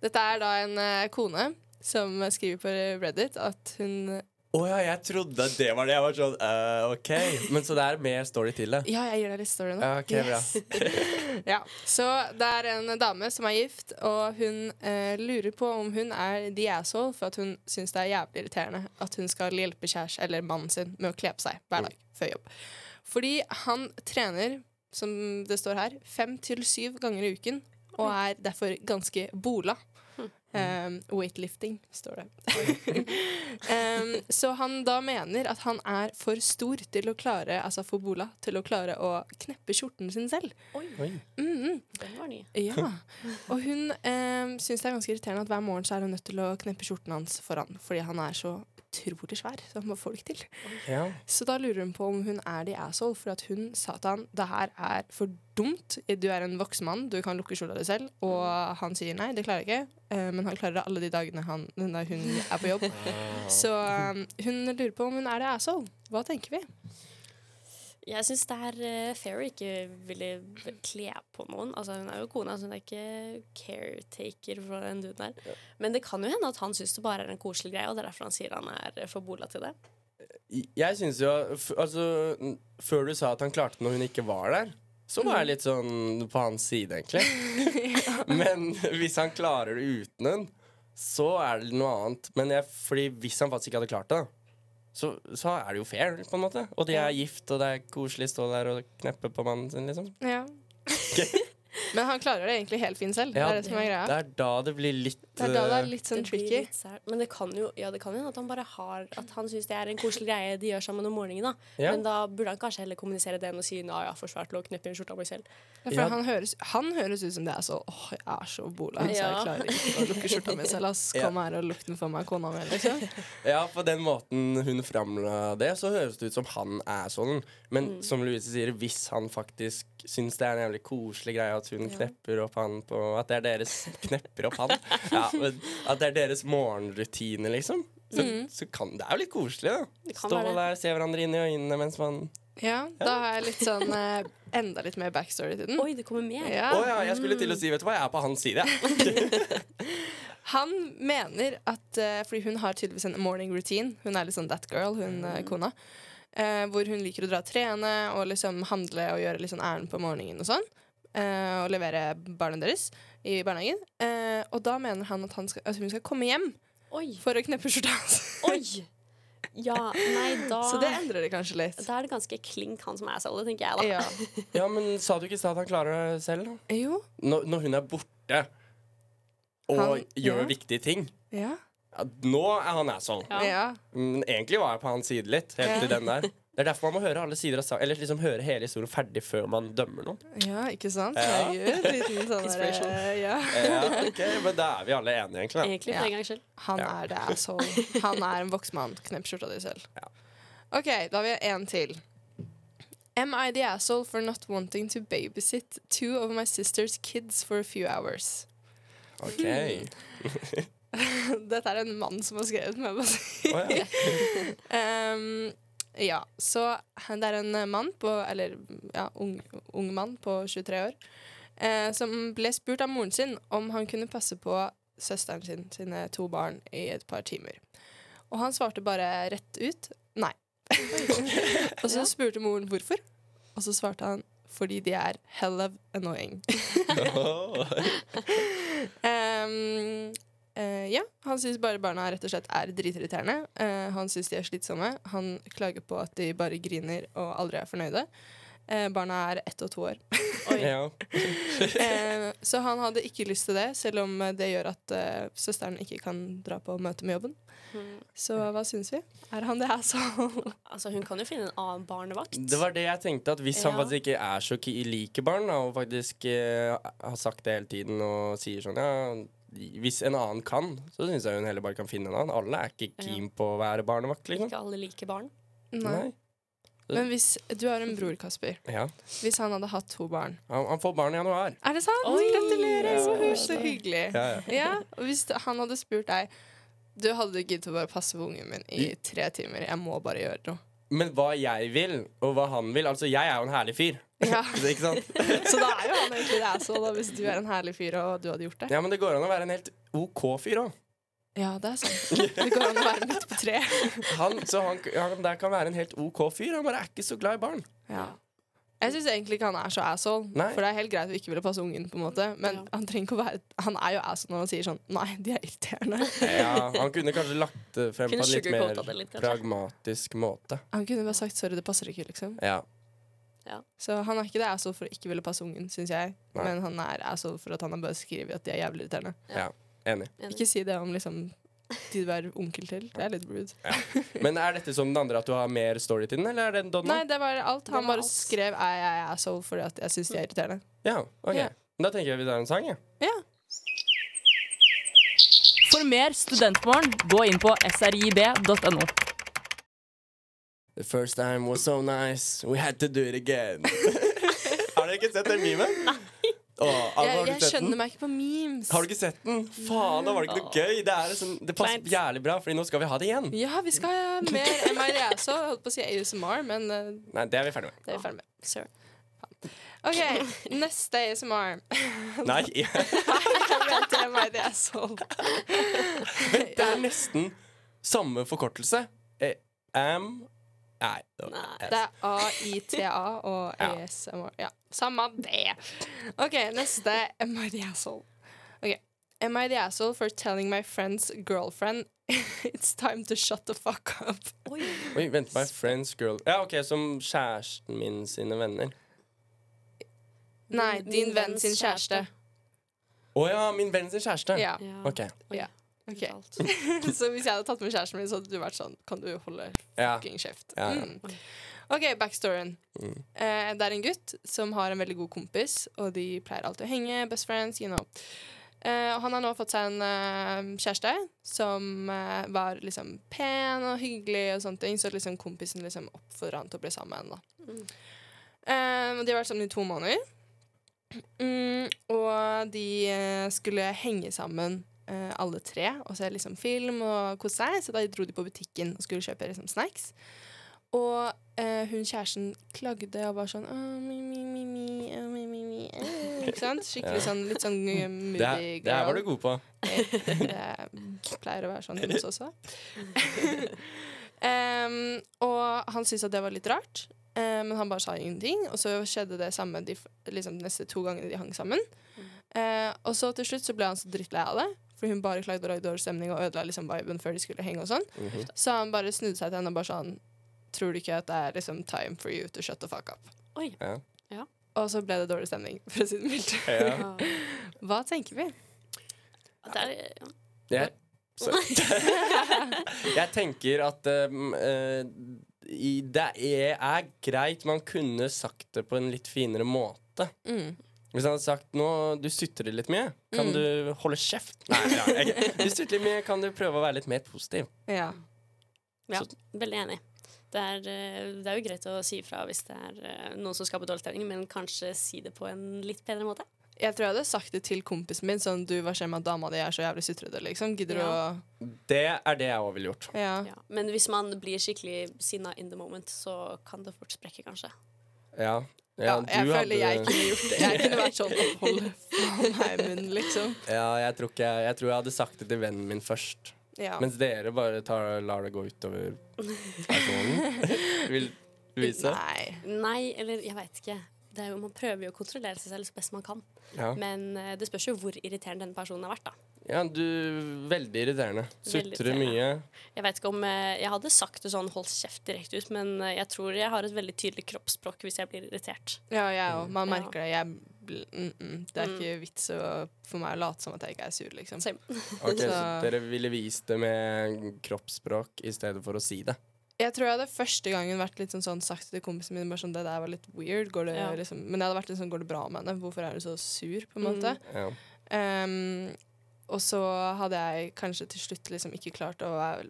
Speaker 7: Dette er da en eh, kone som skriver på Reddit at hun
Speaker 6: Å ja, jeg trodde at det var det. Jeg var sånn eh, OK. Men så det er mer story til det.
Speaker 7: Ja, jeg gir deg litt story nå.
Speaker 6: Ja, ok, bra.
Speaker 7: ja. Så det er en dame som er gift, og hun eh, lurer på om hun er the asshole for at hun syns det er jævlig irriterende at hun skal hjelpe kjæresten eller mannen sin med å kle på seg hver dag før jobb. Fordi han trener, som det står her, fem til syv ganger i uken, og er derfor ganske bola. Um, weightlifting, står det. um, så han da mener at han er for stor til å klare altså for bola, til å klare å kneppe skjorten sin selv.
Speaker 6: Oi.
Speaker 7: Mm.
Speaker 8: Den var ny.
Speaker 7: Ja. Og hun um, syns det er ganske irriterende at hver morgen så er hun nødt til å kneppe skjorten hans foran, fordi han er så utrolig svær. Så han bare får det ikke til.
Speaker 6: Ja.
Speaker 7: Så da lurer hun på om hun er the asshole, for at hun sa til han det her er for dumt. Du er en voksen mann, du kan lukke skjorta di selv. Og
Speaker 8: Mm.
Speaker 7: han sier nei, det klarer jeg ikke. Eh, Men han klarer det alle de dagene han, nei, hun er på jobb. Så eh, hun lurer på om hun er the asshole. Hva tenker vi?
Speaker 8: Jeg syns det er eh, fair å ikke ville kle på noen. Altså, hun er jo kona, så hun er ikke caretaker for den duden der. Men det kan jo hende at han syns det bare er en koselig greie, og det er derfor han sier han er eh, for bola til det.
Speaker 6: Jeg syns jo f Altså, n- før du sa at han klarte det når hun ikke var der, så var jeg litt sånn på hans side, egentlig. Men hvis han klarer det uten hun, så er det noe annet. Men jeg, fordi hvis han faktisk ikke hadde klart det, så, så er det jo fair, på en måte. Og de er gift, og det er koselig å stå der og kneppe på mannen sin, liksom.
Speaker 7: Ja. Men han klarer det egentlig helt fint selv.
Speaker 6: Ja,
Speaker 7: det er det som er
Speaker 6: Det
Speaker 7: greia.
Speaker 6: er da det blir litt
Speaker 7: Det er da det er
Speaker 6: eh,
Speaker 7: litt sånn
Speaker 8: Det blir
Speaker 7: tricky.
Speaker 8: litt sært. Men det kan jo ja, det kan jo hende at han bare har At han syns det er en koselig greie de gjør sammen om morgenen. da
Speaker 6: Ja.
Speaker 8: Men da burde han kanskje heller kommunisere det enn å si Nei, jeg har for svært til å kneppe i skjorta mi selv.
Speaker 7: Ja, for
Speaker 6: Ja.
Speaker 7: han, høres, han høres ut som det er så Åh, jeg er så bola, så jeg
Speaker 8: Ja.
Speaker 7: klarer ikke å lukke skjorta mi selv. Ass.
Speaker 6: Ja.
Speaker 7: Kom her og lukk den for meg, kona mi. Liksom.
Speaker 6: eh, Ja, på den måten hun framla det, så høres det ut som han er sånn. Men
Speaker 7: Mm.
Speaker 6: som Louise sier, hvis han faktisk syns det er en jævlig koselig greie at hun knepper opp han på At det er deres knepper opp han ja, men At det er deres morgenrutine, liksom. Så,
Speaker 7: Mm.
Speaker 6: så kan det er jo litt koselig, da.
Speaker 8: kan
Speaker 6: Stå
Speaker 8: være det.
Speaker 6: der, se hverandre inn i øynene mens man
Speaker 7: Ja, da har jeg litt sånn eh, enda litt mer backstory til den.
Speaker 8: Oi, det kommer med!
Speaker 7: Mm. Ja.
Speaker 6: Å ja, jeg skulle til å si, vet du hva, jeg er på hans side, jeg.
Speaker 7: Han mener at eh, Fordi hun har tydeligvis en morning routine. Hun er litt sånn that girl, hun eh,
Speaker 6: Mm.
Speaker 7: kona. Eh, hvor hun liker å dra og trene og liksom handle og gjøre litt sånn ærend på morgenen og sånn. eh, og levere barna deres i barnehagen. Eh, og da mener han at, han skal, at hun skal komme hjem
Speaker 8: Oi!
Speaker 7: for å kneppe skjorta hans.
Speaker 8: Oi! Ja, nei, da
Speaker 7: Så det endrer det kanskje litt.
Speaker 8: Da er det ganske klink han som er seg alle, tenker jeg da.
Speaker 7: Ja.
Speaker 6: Ja, men sa du ikke i stad at han klarer det selv, da?
Speaker 7: Jo.
Speaker 6: Når, når hun er borte og
Speaker 7: Han-
Speaker 6: gjør
Speaker 7: ja.
Speaker 6: viktige ting.
Speaker 7: Ja.
Speaker 6: Ja, nå er han asshole.
Speaker 7: Ja.
Speaker 6: Men egentlig var jeg på hans side litt. Helt til den der Det er derfor man må høre alle sider av sa- Eller liksom høre hele historien ferdig før man dømmer noen.
Speaker 7: Ja, ikke sant?
Speaker 6: Ja.
Speaker 7: Herregud. Liten sånn
Speaker 8: Inspiration.
Speaker 7: derre ja.
Speaker 6: Ja, ok, Men da er vi alle enige, egentlig.
Speaker 8: Egentlig for en gangs skyld.
Speaker 7: Han er det asshole. Han er en voksen mann. Knepp skjorta di selv. OK, da har vi en til. Am I the asshole for not wanting to babysit two of my sister's kids for a few hours?
Speaker 6: da. Ok
Speaker 7: Dette er en mann som har skrevet meg. bare si.
Speaker 6: Å, ja.
Speaker 7: Um, ja, så det er en eh, mann på Eller ja, ung, ung mann på 23 år eh, som ble spurt av moren sin om han kunne passe på søsteren sin, sine to barn, i et par timer. Og han svarte bare rett ut nei. og så spurte moren hvorfor, og så svarte han fordi de er hell of annoying. Ehm, eh, ja, han syns bare barna rett og slett er dritirriterende. Eh, han syns de er slitsomme. Han klager på at de bare griner og aldri er fornøyde. Eh, barna er ett og to år.
Speaker 6: ja.
Speaker 7: Eh, så han hadde ikke lyst til det, selv om eh, det gjør at eh, søsteren ikke kan dra på møte med jobben. Så hva syns vi? Er han det, altså?
Speaker 8: Altså, hun kan jo finne en annen barnevakt.
Speaker 6: Det var det jeg tenkte. At hvis han
Speaker 8: Ja.
Speaker 6: faktisk ikke er så ki- liker barn, da, og faktisk eh, har sagt det hele tiden og sier sånn ja hvis en annen kan, så syns jeg hun heller bare kan finne en annen. Alle er ikke keen på å være barnevakt, liksom.
Speaker 8: Ikke alle liker barn.
Speaker 6: Nei.
Speaker 7: Men hvis du har en bror, Kasper.
Speaker 6: Ja.
Speaker 7: Hvis han hadde hatt to barn.
Speaker 6: Han, han får barn i januar.
Speaker 7: Er det sant? Gratulerer! Woohoo, Så hyggelig.
Speaker 6: Ja, ja.
Speaker 7: Ja, og hvis du- han hadde spurt deg Du hadde du giddet å bare passe på ungen min i tre timer. Jeg må bare gjøre noe.
Speaker 6: Men hva jeg vil, og hva han vil Altså, jeg er jo en herlig fyr.
Speaker 7: Ja.
Speaker 6: Ikke sant?
Speaker 7: Så da er jo han egentlig det asshole, da, hvis du er en herlig fyr og du hadde gjort det.
Speaker 6: Ja, men det går an å være en helt OK fyr òg.
Speaker 7: Ja, det er sant. Det går an å være midt på treet.
Speaker 6: Han, så han, han der kan være en helt OK fyr. Han bare er ikke så glad i barn.
Speaker 7: Ja. Jeg syns egentlig ikke han er så asshole,
Speaker 6: Nei.
Speaker 7: for det er helt greit å ikke ville passe ungen, på en måte men
Speaker 8: Ja.
Speaker 7: han trenger ikke å være Han er jo asshole når han sier sånn Nei, de er irriterende.
Speaker 6: Ja, han kunne kanskje lagt det frem på
Speaker 8: Kunne
Speaker 6: en litt
Speaker 8: sugarcoata det
Speaker 6: mer
Speaker 8: litt, kanskje.
Speaker 6: pragmatisk måte.
Speaker 7: Han kunne bare sagt sorry, det passer ikke, liksom.
Speaker 6: Ja.
Speaker 7: Så han er ikke det asshole for å ikke ville passe ungen, syns jeg.
Speaker 6: Nei.
Speaker 7: Men han er asshole for at han har bare skrevet at de er jævlig irriterende.
Speaker 6: Ja, enig.
Speaker 7: Ikke si det om liksom de du er onkel til. Det er litt rude.
Speaker 6: Men er dette som den andre, at du har mer story til den, eller er det en Donna?
Speaker 7: Nei, det var alt. Han bare skrev 'jeg er asshole' fordi at jeg syns de er irriterende.
Speaker 6: Ja, ok.
Speaker 7: Ja.
Speaker 6: Da tenker jeg vi tar en sang, jeg.
Speaker 9: For mer studentmorgen, gå inn på srib.no.
Speaker 6: The first time was so nice, we had to do it again. har dere ikke sett den memen? Nei.
Speaker 7: Jeg, jeg skjønner meg ikke på memes.
Speaker 6: Har du ikke sett den? Faen, da var det ikke noe gøy. Det, er sånn, det passer jævlig bra, Fordi nå skal vi ha det igjen.
Speaker 7: Ja, vi skal ha mer E, MRS og holdt på å si ASMR, men eh,
Speaker 6: Nei, det er vi ferdig med.
Speaker 7: det er vi ferdig med. Sir. OK, neste ASMR.
Speaker 6: Nei,
Speaker 7: Vent til MRS og
Speaker 6: det er nesten samme forkortelse. Eh, Am Nei. det var-
Speaker 7: Det er AITA og E
Speaker 6: Ja.
Speaker 7: ASMR. Ja, samme det. OK, neste. Am I the asshole? OK. Am I the asshole for telling my friend's girlfriend it's time to shut the fuck up?
Speaker 6: Oi, vent. My friends girl Ja, OK, som kjæresten min sine venner.
Speaker 7: Nei, din venn sin kjæreste.
Speaker 6: Å ja, min venn sin kjæreste.
Speaker 7: Ja.
Speaker 6: OK.
Speaker 7: ok Så hvis jeg hadde tatt med kjæresten min, så hadde du vært sånn Kan du holde
Speaker 6: Ja.
Speaker 7: fucking kjeft?
Speaker 6: Ja, ja. Mm.
Speaker 7: Mm. OK, backstoryen. Eh, det er en gutt som har en veldig god kompis, og de pleier alltid å henge. Best friends, you know. Eh, og han har nå fått seg en eh, kjæreste som eh, var liksom pen og hyggelig, og sånne ting, så liksom kompisen liksom oppfordra han til å bli sammen med henne. da. Eh, og de har vært sammen i to måneder. Mm, og de eh, skulle henge sammen eh, alle tre og se liksom film og kose seg, så da dro de på butikken og skulle kjøpe liksom snacks. Og eh, hun kjæresten klagde og var sånn «Åh, mi, mi, mi, mi, åh, mi, mi, mi, eh», Ikke sant? Skikkelig sånn litt sånn eh, moody
Speaker 6: Det her, det her var du god på.
Speaker 7: det pleier å være sånn hos oss også. Em, og han syntes at det var litt rart, eh, men han bare sa ingenting. Og så skjedde det samme de f- liksom, de neste to gangene de hang sammen. Eh, og så til slutt så ble han så drittlei av det, for hun bare klagde og lagde dårlig stemning og ødela liksom viben før de skulle henge og sånn.
Speaker 6: Mhm.
Speaker 7: Så han bare snudde seg til henne og bare sånn Tror du ikke at det er liksom time for you to shut the fuck up?
Speaker 8: Oi.
Speaker 6: Ja.
Speaker 8: Ja.
Speaker 7: Og så ble det dårlig stemning, for å si det mildt.
Speaker 6: Ja.
Speaker 7: Hva tenker vi?
Speaker 8: Det er, eh, ja.
Speaker 6: Jeg, så. jeg tenker at um, eh, i, det er, er greit. Man kunne sagt det på en litt finere måte.
Speaker 7: Mm.
Speaker 6: Hvis han hadde sagt nå, du sutrer litt mye, kan du holde kjeft? Nei, ja, ok. Du sutrer litt mye, kan du prøve å være litt mer positiv?
Speaker 7: Ja.
Speaker 8: Ja, veldig enig. Det er, eh, det er jo greit å si ifra hvis det er eh, noen som skaper dårlig stemning, men kanskje si det på en litt bedre måte.
Speaker 7: Jeg tror jeg hadde sagt det til kompisen min. Sånn, du, hva skjer med at dama di er så jævlig sutrete, liksom? Gidder
Speaker 8: Ja.
Speaker 7: du
Speaker 6: Det er det jeg òg ville gjort.
Speaker 7: å ja.
Speaker 8: Ja. Men hvis man blir skikkelig sinna in the moment, så kan det fort sprekke, kanskje.
Speaker 6: Ja,
Speaker 7: ja,
Speaker 6: ja,
Speaker 7: jeg
Speaker 6: du
Speaker 7: føler jeg
Speaker 6: hadde-
Speaker 7: kunne gjort det. Jeg kunne vært sånn Hold faen meg munnen, liksom.
Speaker 6: Ja, jeg tror, ikke, jeg, jeg tror jeg hadde sagt det til vennen min først.
Speaker 7: Ja.
Speaker 6: Mens dere bare tar, lar det gå utover personen. Vil vise?
Speaker 7: Nei.
Speaker 8: Nei, eller jeg veit ikke. Det er jo, man prøver jo å kontrollere seg selv så best man kan.
Speaker 6: Ja.
Speaker 8: Men eh, det spørs jo hvor irriterende denne personen har vært. da.
Speaker 6: ja, du Veldig irriterende. Sutrer
Speaker 8: irriterende.
Speaker 6: mye.
Speaker 8: Jeg vet ikke om eh, jeg hadde sagt det sånn holdt kjeft direkte ut, men eh, jeg tror jeg har et veldig tydelig kroppsspråk hvis jeg blir irritert.
Speaker 7: Ja, jeg òg. Man
Speaker 8: Ja.
Speaker 7: merker det. Jeg, bl- mm, mm. Det er ikke vits å- for meg å late som at jeg ikke er sur, liksom.
Speaker 8: Same.
Speaker 6: Ok, så
Speaker 7: Så-
Speaker 6: dere ville vist det med kroppsspråk i stedet for å si det.
Speaker 7: Jeg tror jeg hadde første gangen vært litt sånn, sånn sagt til kompisen min bare sånn, det der var litt weird. Går det,
Speaker 8: Ja.
Speaker 7: liksom? Men jeg hadde vært litt sånn Går det bra med henne? Hvorfor er du så sur? på en måte.
Speaker 6: Ja.
Speaker 7: Um, og så hadde jeg kanskje til slutt liksom ikke klart å være-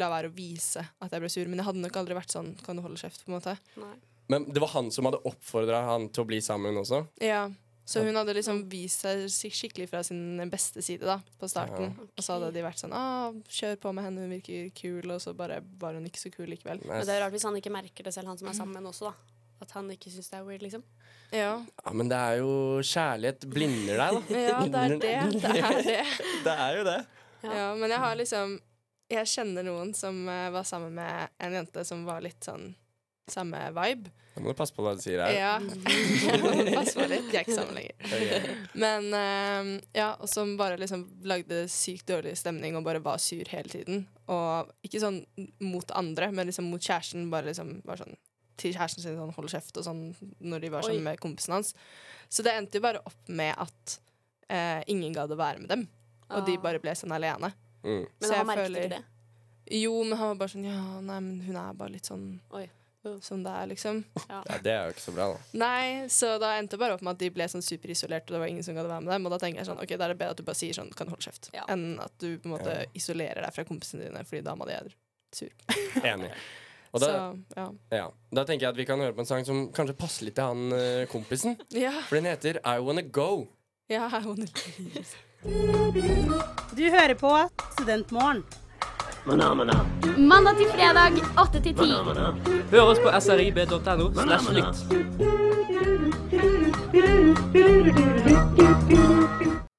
Speaker 7: la være å vise at jeg ble sur, men jeg hadde nok aldri vært sånn Kan du holde kjeft? på en måte
Speaker 8: Nei.
Speaker 6: Men det var han som hadde oppfordra han til å bli sammen også.
Speaker 7: Ja Så hun hadde liksom vist seg skik- skikkelig fra sin beste side da på starten. Og så hadde de vært sånn ah, 'Kjør på med henne, hun virker kul', og så bare var hun ikke så kul likevel.
Speaker 6: Nei,
Speaker 8: Og det er rart hvis han ikke merker det selv, han som er sammen med henne også. da. At han ikke syns det er weird, liksom.
Speaker 7: Ja,
Speaker 6: Ja, men det er jo kjærlighet blinder deg, da.
Speaker 7: ja det er det. Det er det.
Speaker 6: Det er jo det.
Speaker 7: Ja. men jeg har liksom Jeg kjenner noen som eh, var sammen med en jente som var litt sånn samme vibe.
Speaker 6: Da må du passe på hva du sier her.
Speaker 7: Ja. Pass på litt. De er ikke sammen lenger.
Speaker 6: Ok.
Speaker 7: Men eh, ja, og som bare liksom lagde sykt dårlig stemning og bare var sur hele tiden. Og ikke sånn mot andre, men liksom mot kjæresten. Bare liksom var sånn til kjæresten sin sånn hold kjeft og sånn når de var
Speaker 8: Oi.
Speaker 7: sammen med kompisen hans. Så det endte jo bare opp med at eh, ingen gadd å være med dem. Og de
Speaker 8: Ah.
Speaker 7: bare ble sånn alene.
Speaker 6: Mm.
Speaker 8: Men
Speaker 7: Så
Speaker 8: han
Speaker 7: jeg
Speaker 8: merket ikke
Speaker 7: føler-
Speaker 8: det.
Speaker 7: Jo, men han var bare sånn Ja, nei, men hun er bare litt sånn
Speaker 8: Oi.
Speaker 7: Som det er, liksom.
Speaker 6: Ja, det er jo ikke så bra, da.
Speaker 7: Nei, så da endte det bare opp med at de ble sånn superisolert, og det var ingen som gadd å være med dem. Og da tenker jeg sånn, ok, da er det bedre at du bare sier sånn, kan du holde kjeft,
Speaker 8: Ja.
Speaker 7: enn at du på en måte
Speaker 6: Ja.
Speaker 7: isolerer deg fra kompisene dine, fordi da må de er sur.
Speaker 6: Enig. Og da,
Speaker 7: så, ja.
Speaker 6: ja, da tenker jeg at vi kan høre på en sang som kanskje passer litt til han eh, kompisen.
Speaker 7: Ja,
Speaker 6: For den heter I Wanna Go.
Speaker 7: ja, jeg er vondt.
Speaker 4: Du hører på Studentmorgen.
Speaker 11: Mandag til fredag, 8 til 10.
Speaker 5: Høres på srib.no slash lytt.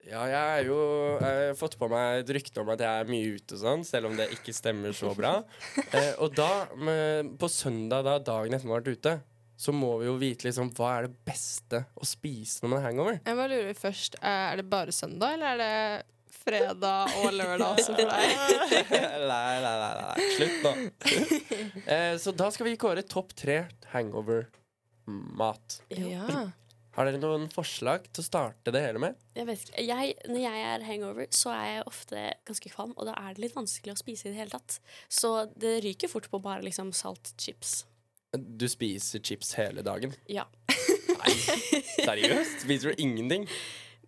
Speaker 6: Ja, jeg har jo eh, fått på meg et rykte om at jeg er mye ute og sånn, selv om det ikke stemmer så bra. Eh, og da, med, på søndag, da dagen etter man har vært ute, så må vi jo vite liksom hva er det beste å spise når man er hangover.
Speaker 7: Jeg bare lurer først, eh, er det bare søndag, eller er det fredag og lørdag også for deg?
Speaker 6: nei, nei, nei, nei, nei. Slutt nå. eh, så da skal vi kåre topp tre hangover-mat.
Speaker 7: Ja.
Speaker 6: Har dere noen forslag til å starte det hele med?
Speaker 8: Jeg vet ikke. Jeg, når jeg er hangover, så er jeg ofte ganske kvalm, og da er det litt vanskelig å spise i det hele tatt. Så det ryker fort på bare liksom salt chips.
Speaker 6: Du spiser chips hele dagen.
Speaker 8: Ja.
Speaker 6: Nei, seriøst? Spiser du ingenting?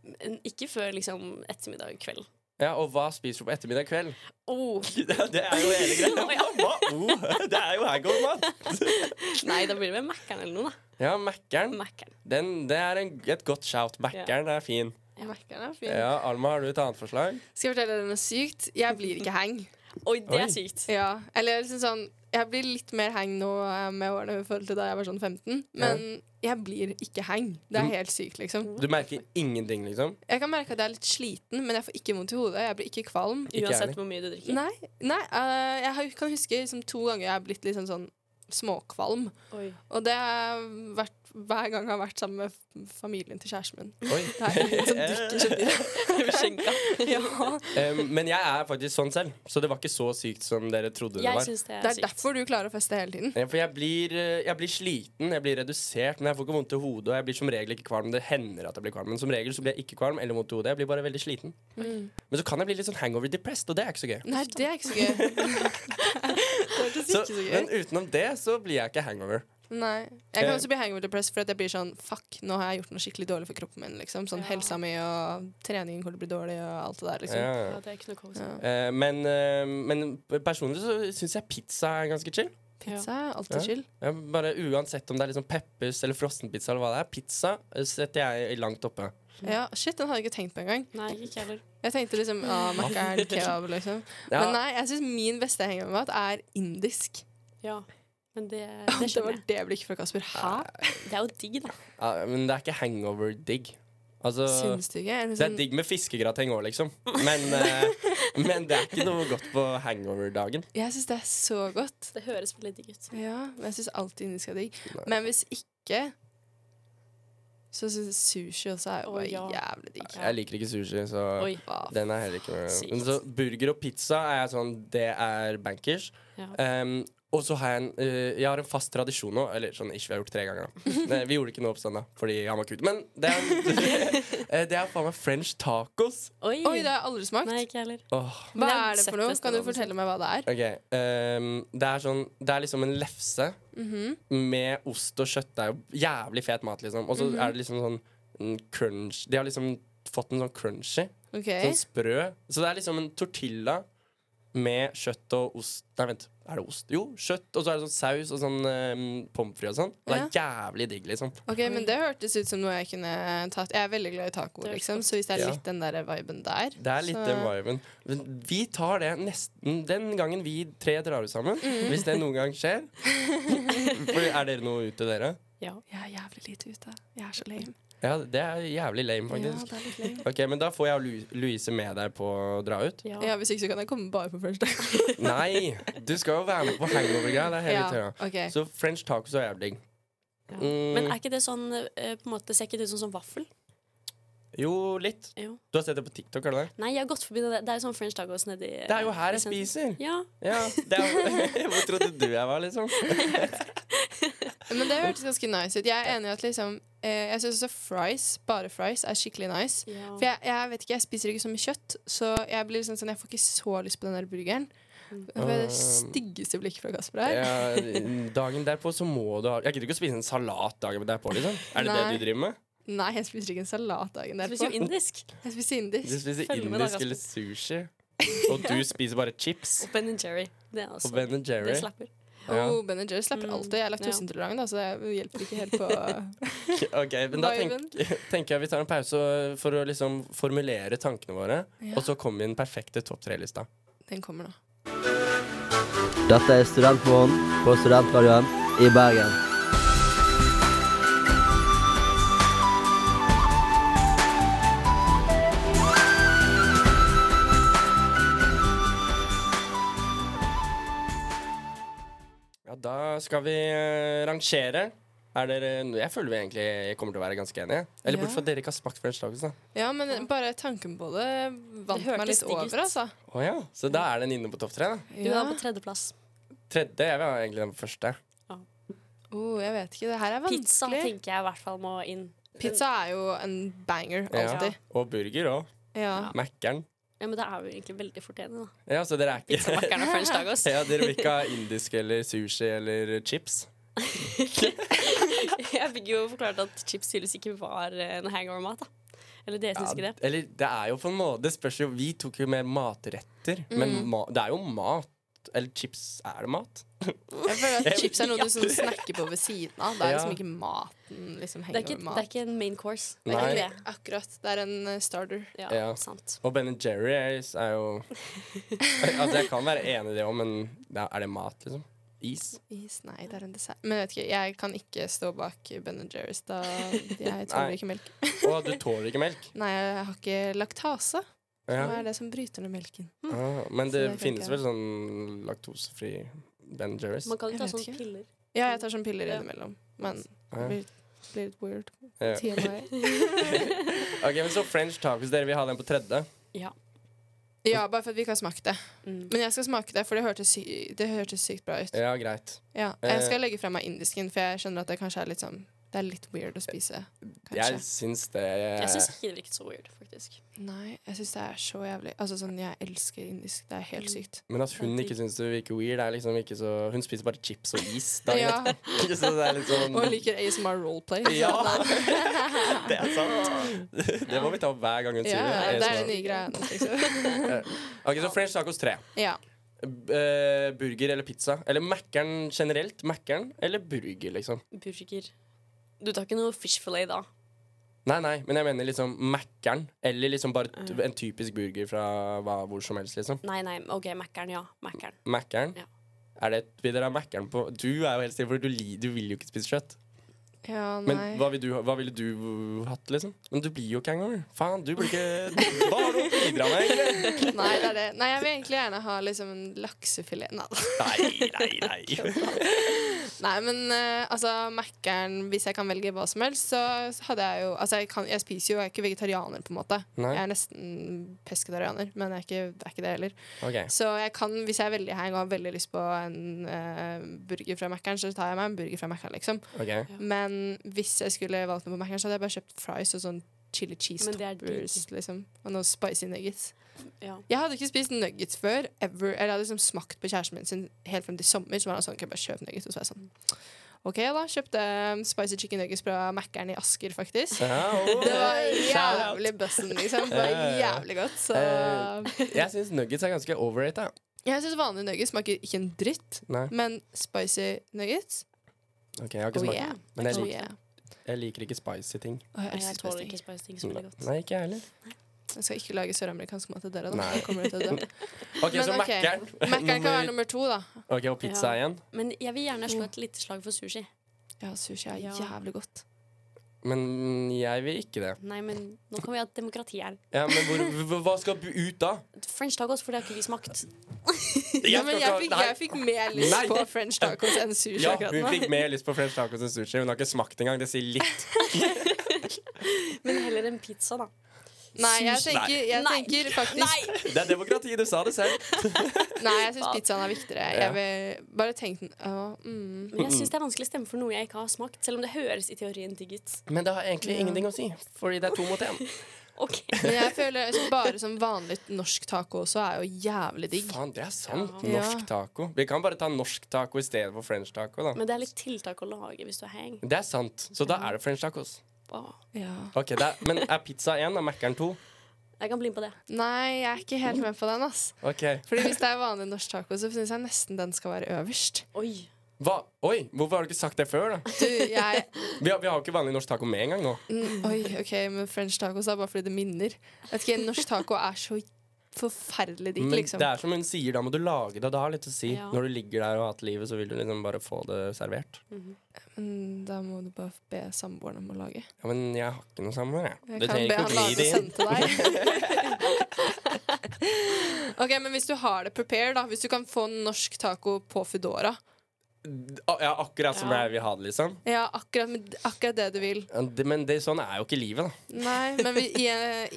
Speaker 8: Men Ikke før liksom ettermiddag kveld.
Speaker 6: Ja, Og hva spiser du på ettermiddag kveld?
Speaker 8: Oh,
Speaker 6: Det det er jo hele greia. Hva? Oh, det er jo hangover-mat.
Speaker 8: nei, da blir det vel Mækkern eller noe, da.
Speaker 6: Ja, Mækkern.
Speaker 8: Mækkern.
Speaker 6: Den- Det er en, et godt shout. Mækkern er fin.
Speaker 7: Merker det, fint.
Speaker 6: Ja, Alma, har du et annet forslag?
Speaker 7: Skal jeg fortelle dere noe sykt? Jeg blir ikke hang.
Speaker 8: Oi, det
Speaker 6: Oi.
Speaker 8: er sykt.
Speaker 7: Ja, eller liksom sånn Jeg blir litt mer hang nå eh, med årene i forhold til da jeg var sånn 15, men jeg blir ikke hang. Det
Speaker 6: Mm.
Speaker 7: er helt sykt, liksom.
Speaker 6: Du merker ingenting, liksom?
Speaker 7: Jeg kan merke at jeg er litt sliten, men jeg får ikke vondt i hodet. Jeg blir ikke kvalm.
Speaker 6: Ikke jeg
Speaker 8: Uansett
Speaker 6: heller.
Speaker 8: hvor mye du drikker.
Speaker 7: Nei, nei eh, jeg har- kan huske liksom, to ganger jeg har blitt liksom sånn småkvalm.
Speaker 8: Oi.
Speaker 7: Og det har vært hver gang jeg har vært sammen med f- familien til kjæresten min.
Speaker 6: Oi.
Speaker 7: Det er liksom drikker så mye. ja.
Speaker 6: Em, men jeg er faktisk sånn selv, så det var ikke så sykt som dere trodde det
Speaker 8: Jeg
Speaker 6: var.
Speaker 8: syns det
Speaker 7: Det
Speaker 8: er
Speaker 7: er
Speaker 8: sykt.
Speaker 7: derfor du klarer å feste hele tiden.
Speaker 6: Ja, For jeg blir, eh, jeg blir sliten, jeg blir redusert, men jeg får ikke vondt i hodet. Og jeg blir som regel ikke kvalm. Det hender at jeg blir kvalm, men som regel så blir jeg ikke kvalm eller vondt i hodet. Jeg blir bare veldig sliten. Men så kan jeg bli litt sånn hangover-depressed, og det er ikke så gøy.
Speaker 7: Nei, det er ikke så gøy. det hørtes
Speaker 6: Så,
Speaker 7: ikke så gøy
Speaker 6: men utenom det så blir jeg ikke hangover.
Speaker 7: Nei. Jeg kan
Speaker 6: Eh.
Speaker 7: også bli hangover depressed for at jeg blir sånn Fuck, nå har jeg gjort noe skikkelig dårlig for kroppen min. Liksom. Sånn Helsa mi og treningen kommer til å bli dårlig og alt det der. Liksom.
Speaker 6: Ja, ja.
Speaker 8: Ja, det er ikke noe kos.
Speaker 7: Ja.
Speaker 6: Eh, men, eh, men personlig så syns jeg pizza er ganske chill.
Speaker 7: Pizza er
Speaker 6: Ja.
Speaker 7: alltid chill.
Speaker 6: Jeg bare Uansett om det er liksom peppers eller frossenpizza eller hva det er, pizza eh, setter jeg langt oppe.
Speaker 7: Ja, shit, den hadde jeg ikke tenkt på engang.
Speaker 8: Nei, ikke heller.
Speaker 7: Jeg tenkte liksom ah, Mackeren, kebab, liksom.
Speaker 6: Ja,
Speaker 7: Men nei, jeg syns min beste hangover-mat er indisk.
Speaker 8: Ja. Men det,
Speaker 7: Det,
Speaker 8: det skjønner
Speaker 7: var
Speaker 8: jeg.
Speaker 7: det blikket fra Kasper. Hæ?
Speaker 8: Det er jo digg, da.
Speaker 6: ja, men det er ikke hangover-digg. Altså,
Speaker 7: Syns du ikke? Er det
Speaker 6: det er
Speaker 7: sånn-
Speaker 6: digg med fiskegrateng òg, liksom. Men, eh, men det er ikke noe godt på hangover-dagen.
Speaker 7: Jeg syns det er så godt.
Speaker 8: Det høres veldig digg ut.
Speaker 7: Ja, men jeg syns alltid indisk er digg.
Speaker 6: Nei.
Speaker 7: Men hvis ikke så syns jeg sushi også er jo
Speaker 8: Å,
Speaker 7: bare
Speaker 8: ja.
Speaker 7: jævlig digg.
Speaker 6: Jeg liker ikke sushi, så
Speaker 8: Oi.
Speaker 6: den er heller ikke
Speaker 8: Sykt.
Speaker 6: Men så burger og pizza er jeg sånn Det er bankers.
Speaker 8: Ja.
Speaker 6: Um, og så har jeg en, eh, jeg har en fast tradisjon nå. Eller sånn ikke vi har gjort tre ganger. da Nei, Vi gjorde det ikke nå på søndag fordi han var kut. Men det er, eh, det er faen meg french tacos.
Speaker 8: Oi.
Speaker 7: Oi, det har jeg aldri smakt.
Speaker 8: Nei, ikke heller.
Speaker 6: Åh
Speaker 7: Hva
Speaker 8: Men jeg har
Speaker 7: er det
Speaker 8: sett
Speaker 7: for noe?
Speaker 8: nesten
Speaker 7: Kan du
Speaker 8: alle
Speaker 7: fortelle meg hva det er?
Speaker 6: Ok, ehm, det, er sånn, det er liksom en lefse
Speaker 8: Mhm.
Speaker 6: med ost og kjøtt. Det er jo jævlig fet mat, liksom. Og
Speaker 8: Mhm.
Speaker 6: så er det liksom sånn mm, crunch De har liksom fått en sånn crunchy.
Speaker 7: Ok,
Speaker 6: Sånn sprø. Så det er liksom en tortilla med kjøtt og ost Nei, vent. Er det ost? Jo, kjøtt, og så er det sånn saus og sånn um, pommes frites og sånn. Og det er jævlig digg, liksom.
Speaker 7: ok, men Det hørtes ut som noe jeg kunne tatt. Jeg er veldig glad i taco,
Speaker 8: Det er
Speaker 7: liksom, så hvis det er
Speaker 6: Ja.
Speaker 7: litt den der viben der
Speaker 6: Det er litt
Speaker 7: så-
Speaker 6: den viben. Men Vi tar det nesten den gangen vi tre drar ut sammen.
Speaker 7: Mm.
Speaker 6: Hvis det noen gang skjer. For er dere noe ute, dere?
Speaker 8: Ja.
Speaker 7: Jeg er jævlig lite ute. Jeg er så lame.
Speaker 6: Ja, det er jævlig lame,
Speaker 7: Ja,
Speaker 6: faktisk.
Speaker 7: det er litt lame.
Speaker 6: Ok, Men da får jeg og Lu- Louise med deg på å dra ut.
Speaker 8: Ja.
Speaker 7: ja, Hvis ikke så kan jeg komme bare på første.
Speaker 6: Nei! Du skal jo være med på hangover-greia. Det er hele
Speaker 7: ja,
Speaker 6: tida.
Speaker 7: ok.
Speaker 6: Så french tacos er jævlig digg. Mm.
Speaker 8: Men er ikke det sånn eh, på en måte, Ser ikke det ut som sånn vaffel?
Speaker 6: Jo, litt.
Speaker 8: Jo.
Speaker 6: Du har sett det på TikTok, har du det?
Speaker 8: Nei, jeg har gått forbi det. Det er jo sånn french tacos nedi
Speaker 6: Det er jo her jeg
Speaker 8: liksom.
Speaker 6: spiser!
Speaker 8: Ja.
Speaker 6: Ja, det er, Hvor trodde du jeg var, liksom?
Speaker 7: Men det hørtes ganske nice ut. Jeg er enig i at liksom eh, Jeg syns også fries, bare fries, er skikkelig nice.
Speaker 8: Ja.
Speaker 7: For jeg, jeg vet ikke, jeg spiser ikke så mye kjøtt, så jeg blir liksom sånn Jeg får ikke så lyst på den der burgeren. Det var det
Speaker 6: Mm.
Speaker 7: styggeste blikket fra Kasper her.
Speaker 6: Ja, dagen derpå så må du ha Jeg gidder ikke å spise en salat dagen derpå, liksom. Er det
Speaker 7: Nei.
Speaker 6: det du driver med?
Speaker 7: Nei, jeg spiser ikke en salat dagen derpå.
Speaker 8: spiser jo indisk.
Speaker 7: Jeg spiser
Speaker 6: Du
Speaker 7: indisk.
Speaker 6: spiser
Speaker 8: Følg med da,
Speaker 6: indisk eller sushi, og du spiser bare chips.
Speaker 8: Og Ben Jerry. Det er også
Speaker 6: Og Ben Jerry.
Speaker 8: Det slapper.
Speaker 6: Ja.
Speaker 7: Oh, ben Jerry slapper alltid. Jeg er laktoseintolerant, da, så det hjelper ikke helt på eh,
Speaker 6: Ok, men da
Speaker 7: Viben.
Speaker 6: tenk, tenker jeg vi tar en pause for å liksom formulere tankene våre,
Speaker 7: Ja.
Speaker 6: og så kommer den perfekte topp tre-lista.
Speaker 7: Den kommer nå.
Speaker 10: Dette er Studentmorgen på Studentradioen i Bergen.
Speaker 6: Ja, da skal vi eh, rangere. Er dere, jeg føler vi egentlig kommer til å være ganske enige. Eller
Speaker 7: Ja.
Speaker 6: bortsett fra at dere ikke har smakt frenchtoast. da.
Speaker 7: Ja, men bare tanken på det vant
Speaker 8: Det
Speaker 7: meg
Speaker 8: hørtes
Speaker 7: litt
Speaker 8: digg ut.
Speaker 7: over, altså.
Speaker 6: Å ja, Så da er den inne på topp tre? da
Speaker 8: Du er på tredjeplass.
Speaker 6: Tredje jeg vil ha egentlig den første.
Speaker 7: Oh, jeg vet ikke, det her er vanskelig.
Speaker 8: Pizza tenker jeg i hvert fall må inn.
Speaker 7: Pizza er jo en banger,
Speaker 6: Ja.
Speaker 7: alltid.
Speaker 6: Og burger òg.
Speaker 7: Ja.
Speaker 6: Mækkern.
Speaker 8: Ja, Men da er vi jo egentlig veldig fort enige, da.
Speaker 6: Ja, så dere er ikke
Speaker 8: Pizzamakkeren og french tacos.
Speaker 6: ja, Dere vil ikke ha indisk eller sushi eller chips?
Speaker 8: Jeg fikk jo forklart at chips tydeligvis ikke var eh, en hangover-mat, da. Eller dere syns ikke det?
Speaker 6: Eller det er jo på en måte Det spørs jo Vi tok jo mer matretter, men ma, det er jo mat. Eller chips Er det mat?
Speaker 7: Jeg føler at chips er noe du sånn snakker på ved siden av. Det er
Speaker 6: Ja.
Speaker 7: liksom ikke maten liksom
Speaker 8: Det
Speaker 7: henger
Speaker 8: er
Speaker 7: over
Speaker 8: ikke, det er
Speaker 7: mat.
Speaker 8: ikke en main course.
Speaker 7: Det er
Speaker 6: Nei.
Speaker 7: ikke det. Akkurat. Det er en eh, starter.
Speaker 8: Ja,
Speaker 6: Ja.
Speaker 8: sant.
Speaker 6: Og Ben Jerry er, er jo Altså Jeg kan være enig i det òg, men det er, er det mat, liksom? Is?
Speaker 7: Is, nei, det er en dessert. Men jeg vet ikke, jeg kan ikke stå bak Ben Jerry's. Da jeg tåler
Speaker 6: Nei.
Speaker 7: ikke melk.
Speaker 6: Å, du tåler ikke melk?
Speaker 7: Nei, jeg har ikke laktase. Hva
Speaker 6: Ja.
Speaker 7: er det som bryter ned melken?
Speaker 6: Ah, men det
Speaker 7: Så det
Speaker 6: finnes
Speaker 7: tenker
Speaker 6: vel sånn laktosefri Ben Jerry's?
Speaker 8: Man kan jo
Speaker 7: Jeg
Speaker 8: ta
Speaker 7: vet
Speaker 8: sånne
Speaker 7: ikke.
Speaker 8: piller.
Speaker 7: Ja, jeg tar sånn piller
Speaker 8: Ja.
Speaker 7: innimellom. Men
Speaker 6: Ja.
Speaker 7: det blir, blir litt weird.
Speaker 6: Ja.
Speaker 7: TMI.
Speaker 6: Ok, men Så French tacos, dere vil ha den på tredje?
Speaker 7: Ja, bare for at vi ikke har smakt det.
Speaker 8: Mm.
Speaker 7: Men jeg skal smake det, for det hørtes sy det hørtes sykt bra ut.
Speaker 6: Ja, Eh. greit.
Speaker 7: Ja, jeg skal legge fra meg indisken, for jeg skjønner at det kanskje er litt sånn Det er litt weird å spise.
Speaker 6: Jeg
Speaker 7: Kanskje.
Speaker 6: syns det
Speaker 8: Jeg syns ikke det virket så weird, faktisk.
Speaker 7: Nei, jeg syns det er så jævlig Altså sånn, jeg elsker indisk. Det er
Speaker 6: Mm.
Speaker 7: helt sykt.
Speaker 6: Men at hun ikke syns det virker weird, er liksom ikke så Hun spiser bare chips og is. Da,
Speaker 7: Ja,
Speaker 6: så det er litt sånn
Speaker 7: og jeg liker ASMR roleplay.
Speaker 6: Ja! Det er sant. Det må vi ta opp hver gang hun sier
Speaker 7: Ja, det er den
Speaker 6: det.
Speaker 7: nye greia hennes, liksom.
Speaker 6: Ok, Så French tacos 3.
Speaker 7: Ja.
Speaker 6: eh, burger eller pizza? Eller Mækkern generelt? Mækkern eller burger, liksom?
Speaker 8: Burger. Du tar ikke noe fish fillet da?
Speaker 6: Nei, nei, men jeg mener liksom Mækkern. Eller liksom bare t
Speaker 7: Mm.
Speaker 6: en typisk burger fra hva, hvor som helst, liksom.
Speaker 8: Nei, nei, OK, Mækkern, ja. Mækkern.
Speaker 6: Mækkern.
Speaker 8: Ja.
Speaker 6: Er det, vil dere ha Mækkern på Du er jo helt stille, for du, li- du vil jo ikke spise kjøtt.
Speaker 7: ja,
Speaker 6: Men
Speaker 7: nei.
Speaker 6: hva, vil du, ha- hva ville du hatt, liksom? Men du blir jo ikke hangover. Faen, du blir ikke Hva har du å bidra med, egentlig?
Speaker 7: Nei, det er det. Nei, jeg vil egentlig gjerne ha liksom en laksefilet. Nei.
Speaker 6: Nei, nei, nei.
Speaker 7: Nei, men eh, altså, Mækkern Hvis jeg kan velge hva som helst, så hadde jeg jo Altså, jeg, kan, jeg spiser jo, jeg er ikke vegetarianer, på en måte.
Speaker 6: Nei.
Speaker 7: Jeg er nesten pesketarianer, men jeg er ikke, det er ikke det heller.
Speaker 6: Ok.
Speaker 7: Så jeg kan, hvis jeg er veldig hang og har veldig lyst på en eh, burger fra Mækkern, så tar jeg meg en burger fra Mækkern, liksom.
Speaker 6: ok.
Speaker 7: Men hvis jeg skulle valgt noe på Mækkern, så hadde jeg bare kjøpt fries og sånn chili cheese
Speaker 8: Men det er
Speaker 7: toppers, liksom. Og noen spicy nuggets.
Speaker 8: Ja.
Speaker 7: Jeg hadde ikke spist nuggets før. Ever. Eller jeg hadde liksom smakt på kjæresten min sin helt frem til sommer. Så var han sånn, kan jeg bare kjøpe nuggets? Og så var jeg sånn, ok da, kjøpte um, spicy chicken nuggets fra Mækkern i Asker, faktisk.
Speaker 6: Ja, og-
Speaker 7: Det var
Speaker 6: Shout out.
Speaker 7: jævlig bussen, liksom. Det var
Speaker 6: Ja, ja, ja.
Speaker 7: jævlig godt. Så
Speaker 6: Eh, Jeg syns nuggets er ganske overrated. ja.
Speaker 7: jeg syns vanlige nuggets smaker ikke en dritt,
Speaker 6: Nei,
Speaker 7: men spicy nuggets
Speaker 6: ok, jeg har ikke
Speaker 7: Oh
Speaker 6: smakt
Speaker 7: yeah.
Speaker 6: Men jeg
Speaker 7: Oh
Speaker 6: liker,
Speaker 7: yeah.
Speaker 6: jeg liker ikke spicy ting.
Speaker 7: Å, jeg
Speaker 8: Nei, jeg
Speaker 7: elsker
Speaker 8: tåler
Speaker 7: spicy ting.
Speaker 8: ikke spice ting så veldig godt.
Speaker 6: Nei, ikke jeg heller.
Speaker 7: Jeg skal ikke lage søramerikansk mat til dere, da.
Speaker 6: Nei.
Speaker 7: Jeg kommer til å dø.
Speaker 6: Ok,
Speaker 7: Men
Speaker 6: Så
Speaker 7: ok.
Speaker 6: Mækkern.
Speaker 7: Mækkern kan
Speaker 6: Nummer-
Speaker 7: være nummer to, da.
Speaker 6: Ok, Og pizza
Speaker 8: Ja.
Speaker 6: igjen.
Speaker 8: Men jeg vil gjerne
Speaker 7: Mm.
Speaker 8: slå et lite slag for sushi.
Speaker 7: Ja, sushi er
Speaker 8: Ja.
Speaker 7: jævlig godt.
Speaker 6: Men jeg vil ikke det.
Speaker 8: Nei, men nå kan vi ha demokrati her.
Speaker 6: Ja, Men hvor, hv- hva skal bu- ut da?
Speaker 8: French tacos, for det har ikke vi smakt.
Speaker 6: Jeg
Speaker 7: Ja, men
Speaker 6: skal
Speaker 7: jeg
Speaker 6: ikke
Speaker 7: fikk,
Speaker 6: ha-
Speaker 7: jeg fikk mer lyst
Speaker 6: Nei.
Speaker 7: på french tacos enn sushi
Speaker 6: ja,
Speaker 7: akkurat
Speaker 6: hun
Speaker 7: nå.
Speaker 6: fikk mer lyst på french tacos enn sushi. Hun har ikke smakt engang. Det sier litt.
Speaker 8: Men heller en pizza, da.
Speaker 7: Nei, jeg
Speaker 6: Sushi.
Speaker 7: tenker, jeg
Speaker 8: Nei.
Speaker 7: tenker faktisk
Speaker 6: Det er demokrati, du sa det selv.
Speaker 7: Nei, jeg syns pizzaen er viktigere.
Speaker 6: Ja.
Speaker 7: Jeg vil bare tenk den å, mm.
Speaker 8: Men jeg syns det er vanskelig å stemme for noe jeg ikke har smakt, selv om det høres i teorien digg ut.
Speaker 6: Men det har egentlig ingenting å si, fordi det er to mot én.
Speaker 8: Ok.
Speaker 7: Men jeg føler altså, bare som vanlig norsk taco også er jo jævlig digg.
Speaker 6: Faen, det er sant.
Speaker 7: Ja.
Speaker 6: Norsk taco. Vi kan bare ta norsk taco i stedet for french taco, da.
Speaker 8: Men det er litt tiltak å lage hvis du er hang.
Speaker 6: Det er sant. Så da er det french tacos.
Speaker 8: Åh.
Speaker 6: Ok, det er, Men er pizza én og Mækkern to?
Speaker 8: Jeg kan bli med på det.
Speaker 7: Nei, jeg er ikke helt med på den. ass
Speaker 6: Ok.
Speaker 7: Fordi Hvis det er vanlig norsk taco, så syns jeg nesten den skal være øverst.
Speaker 8: Oi.
Speaker 6: Hva? Oi, hvorfor har du ikke sagt det før, da?
Speaker 7: Du, jeg
Speaker 6: Vi har, vi har jo ikke vanlig norsk taco med engang nå.
Speaker 7: mm, Oi, OK, men french tacos er bare fordi det minner. Vet ikke, Norsk taco er så forferdelig digg,
Speaker 6: Men
Speaker 7: liksom.
Speaker 6: det er som hun sier, da må du lage det. Det har litt å si.
Speaker 7: Ja.
Speaker 6: Når du ligger der og har hatt livet, så vil du liksom bare få det servert.
Speaker 7: Mm. Men Mm, da må du bare be samboeren om å lage.
Speaker 6: Ja, men jeg har ikke noe sammen jeg.
Speaker 7: Jeg
Speaker 6: Du
Speaker 7: kan
Speaker 6: trenger
Speaker 7: be
Speaker 6: ikke
Speaker 7: han
Speaker 6: å gni
Speaker 7: lage sånn.
Speaker 6: det
Speaker 7: og
Speaker 6: inn.
Speaker 7: sende til deg. ok, Men hvis du har det prepared, da hvis du kan få norsk taco på Foodora
Speaker 6: Å, Ja, akkurat som jeg vil ha det, liksom.
Speaker 7: Ja, akkurat, med- akkurat det du vil.
Speaker 6: Ja, det- Men det, sånn er jo ikke livet, da.
Speaker 7: Nei, men vi, i,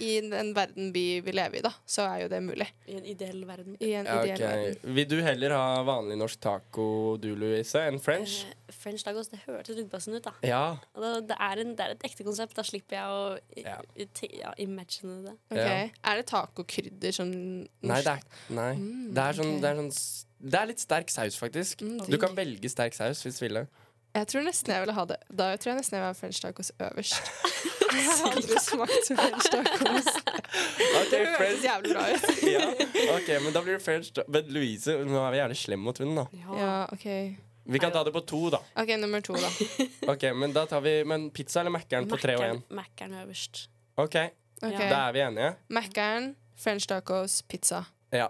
Speaker 7: i den verden vi vil leve i, da, så er jo det mulig.
Speaker 8: I en ideell verden.
Speaker 7: I en
Speaker 6: Ja,
Speaker 7: ideell
Speaker 6: ok.
Speaker 7: verden.
Speaker 6: Vil du heller ha vanlig norsk taco, du, Louise, enn french?
Speaker 8: Eh, French tacos, det hørtes litt bassen ut, da.
Speaker 7: Eh,
Speaker 6: Ja.
Speaker 8: Og det, det, er en, det er et ekte konsept. Da slipper jeg å i-
Speaker 6: Ja.
Speaker 8: i- te- ja, imagine det.
Speaker 7: Ok,
Speaker 6: Ja.
Speaker 7: Er det tacokrydder som
Speaker 6: Nei, det er, nei.
Speaker 7: Mm,
Speaker 6: det er sånn,
Speaker 7: ok.
Speaker 6: det er sånn s- Det er litt sterk saus, faktisk.
Speaker 7: Mm,
Speaker 6: Du
Speaker 7: digg.
Speaker 6: kan velge sterk saus hvis du vil det.
Speaker 7: Jeg tror nesten jeg ville ha det Da tror jeg nesten jeg vil ha french tacos øverst. Jeg har aldri smakt french tacos. Det
Speaker 6: Ok,
Speaker 7: høres
Speaker 6: French-
Speaker 7: jævlig bra ut.
Speaker 6: ja. Ok, men da blir det French da. Men Louise, nå er vi gjerne slem mot henne, da.
Speaker 7: Ja, ok
Speaker 6: Vi kan ta det på to, da.
Speaker 7: Ok, nummer to, da.
Speaker 6: Ok, Men da tar vi Men pizza eller Mækkern på tre og én?
Speaker 8: Mac-eren- Mac-eren øverst.
Speaker 6: Ok,
Speaker 7: Ok.
Speaker 6: da er vi enige?
Speaker 7: Mækkern, french tacos, pizza.
Speaker 6: Ja,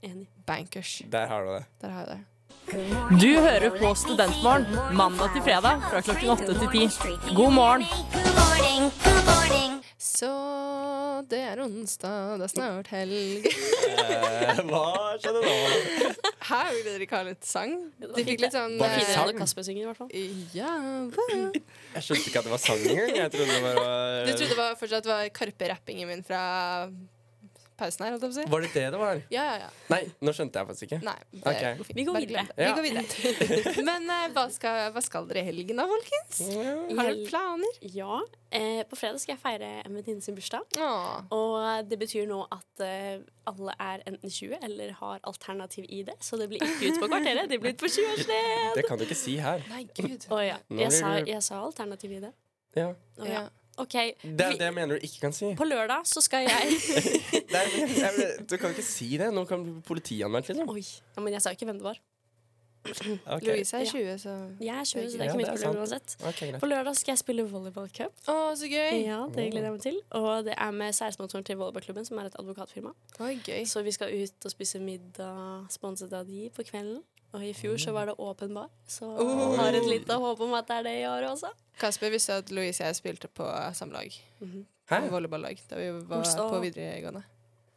Speaker 8: Enig.
Speaker 7: Bankers.
Speaker 6: der har du det.
Speaker 7: Der har jeg det.
Speaker 9: Du hører på Studentmorgen mandag til fredag fra klokken åtte til ti. God morgen!
Speaker 7: Så det er onsdag, det er snart helg.
Speaker 6: Eh, hva skjedde nå?
Speaker 7: Her vil dere ikke ha litt sang? De fikk litt sånn
Speaker 6: Bare
Speaker 7: eh,
Speaker 8: Finere enn
Speaker 6: sang?
Speaker 8: når Kasper synger, i hvert fall.
Speaker 7: Ja hva?
Speaker 6: Jeg skjønte ikke at det var sang engang. Jeg trodde det bare
Speaker 7: Du
Speaker 6: var
Speaker 7: trodde det var, fortsatt var Karpe-rappingen min fra pausen her? holdt jeg på å si?
Speaker 6: eh, Var det det det var?
Speaker 7: Ja, ja, ja.
Speaker 6: Nei, nå skjønte jeg faktisk ikke.
Speaker 7: Nei, det
Speaker 6: Ok.
Speaker 7: går fint.
Speaker 8: Vi går
Speaker 7: Bare
Speaker 8: videre.
Speaker 7: glem det. Vi går videre. Men eh, hva, skal, hva skal dere i helgen da, folkens? Har dere
Speaker 8: Hel-
Speaker 7: planer?
Speaker 8: Ja. Eh, på fredag skal jeg feire en venninne sin bursdag.
Speaker 7: Åh.
Speaker 8: Og det betyr nå at eh, alle er enten 20 eller har alternativ ID. Så det blir ikke ut på kvarteret, det blir ut på 20-årsdagen.
Speaker 6: Det kan du ikke si her.
Speaker 7: Nei, gud.
Speaker 8: Å ja.
Speaker 6: Nå
Speaker 8: Jeg
Speaker 6: blir
Speaker 8: sa,
Speaker 6: du-
Speaker 8: jeg sa alternativ ID.
Speaker 6: Ja.
Speaker 8: Å ja.
Speaker 7: Ja.
Speaker 8: OK.
Speaker 6: Det er
Speaker 8: Vi-
Speaker 6: det jeg mener du ikke kan si.
Speaker 8: På lørdag så skal jeg
Speaker 6: Det er, jeg, du kan ikke si det. Nå kan du bli politianmeldt, liksom.
Speaker 8: Oi. Ja, men jeg sa jo ikke hvem det var.
Speaker 6: Ok,
Speaker 7: Louise er 20, så
Speaker 8: Jeg er 20, så det
Speaker 6: Ja,
Speaker 8: er ikke
Speaker 6: det
Speaker 8: mitt
Speaker 6: er
Speaker 8: problem uansett.
Speaker 6: ok, greit.
Speaker 8: På lørdag skal jeg spille volleyballcup.
Speaker 7: Å, så gøy.
Speaker 8: Ja, det gleder jeg meg til. Og det er med 16-motoren til volleyballklubben, som er et advokatfirma.
Speaker 7: Oi, gøy.
Speaker 8: Så vi skal ut og spise middag sponset av de på kvelden. Og i fjor
Speaker 7: Mm.
Speaker 8: så var det åpen bar, så
Speaker 7: Oi.
Speaker 8: har et lite håp om at det er det i år også.
Speaker 7: Kasper visste at Louise og jeg spilte på samlag.
Speaker 6: Hæ?
Speaker 7: På volleyballag da vi var
Speaker 8: Olstad.
Speaker 7: på videregående.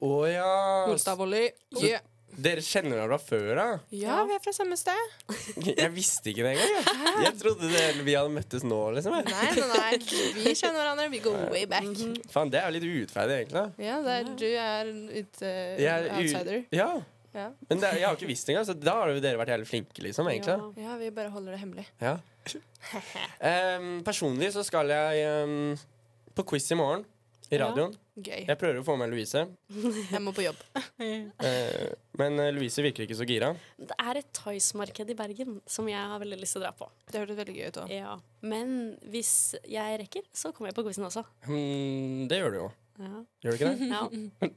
Speaker 6: Å ja.
Speaker 7: Olstad volley.
Speaker 6: Så-
Speaker 7: Yeah.
Speaker 6: Dere kjenner hverandre fra før av?
Speaker 7: Ja, vi er fra samme sted.
Speaker 6: Jeg visste ikke det engang. Jeg, jeg trodde det, vi hadde møttes nå, liksom. Jeg.
Speaker 7: Nei, nei, nei. Vi kjenner hverandre. Vi går way back.
Speaker 6: Faen, det er jo litt urettferdig, egentlig. da.
Speaker 7: Ja, det er, du er ut, eh,
Speaker 6: Jeg er u-
Speaker 7: outsider.
Speaker 6: Ja.
Speaker 7: Ja.
Speaker 6: Men det, er- jeg har ikke visst det engang, så da har jo dere vært jævlig flinke, liksom. egentlig. da.
Speaker 7: ja, vi bare holder det hemmelig.
Speaker 6: Ja. Em, personlig så skal jeg em, på quiz i morgen. I
Speaker 8: Ja.
Speaker 6: radioen.
Speaker 7: Gøy.
Speaker 6: Jeg prøver å få med Louise,
Speaker 7: Jeg må på jobb.
Speaker 6: eh, men eh, Louise virker ikke så gira.
Speaker 8: Det er et toysmarked i Bergen som jeg har veldig lyst til å dra på.
Speaker 7: Det hørtes veldig gøy ut òg.
Speaker 8: Ja. Men hvis jeg rekker, så kommer jeg på quizen også.
Speaker 6: Hmm, det gjør du jo.
Speaker 8: Ja.
Speaker 6: Gjør du ikke det?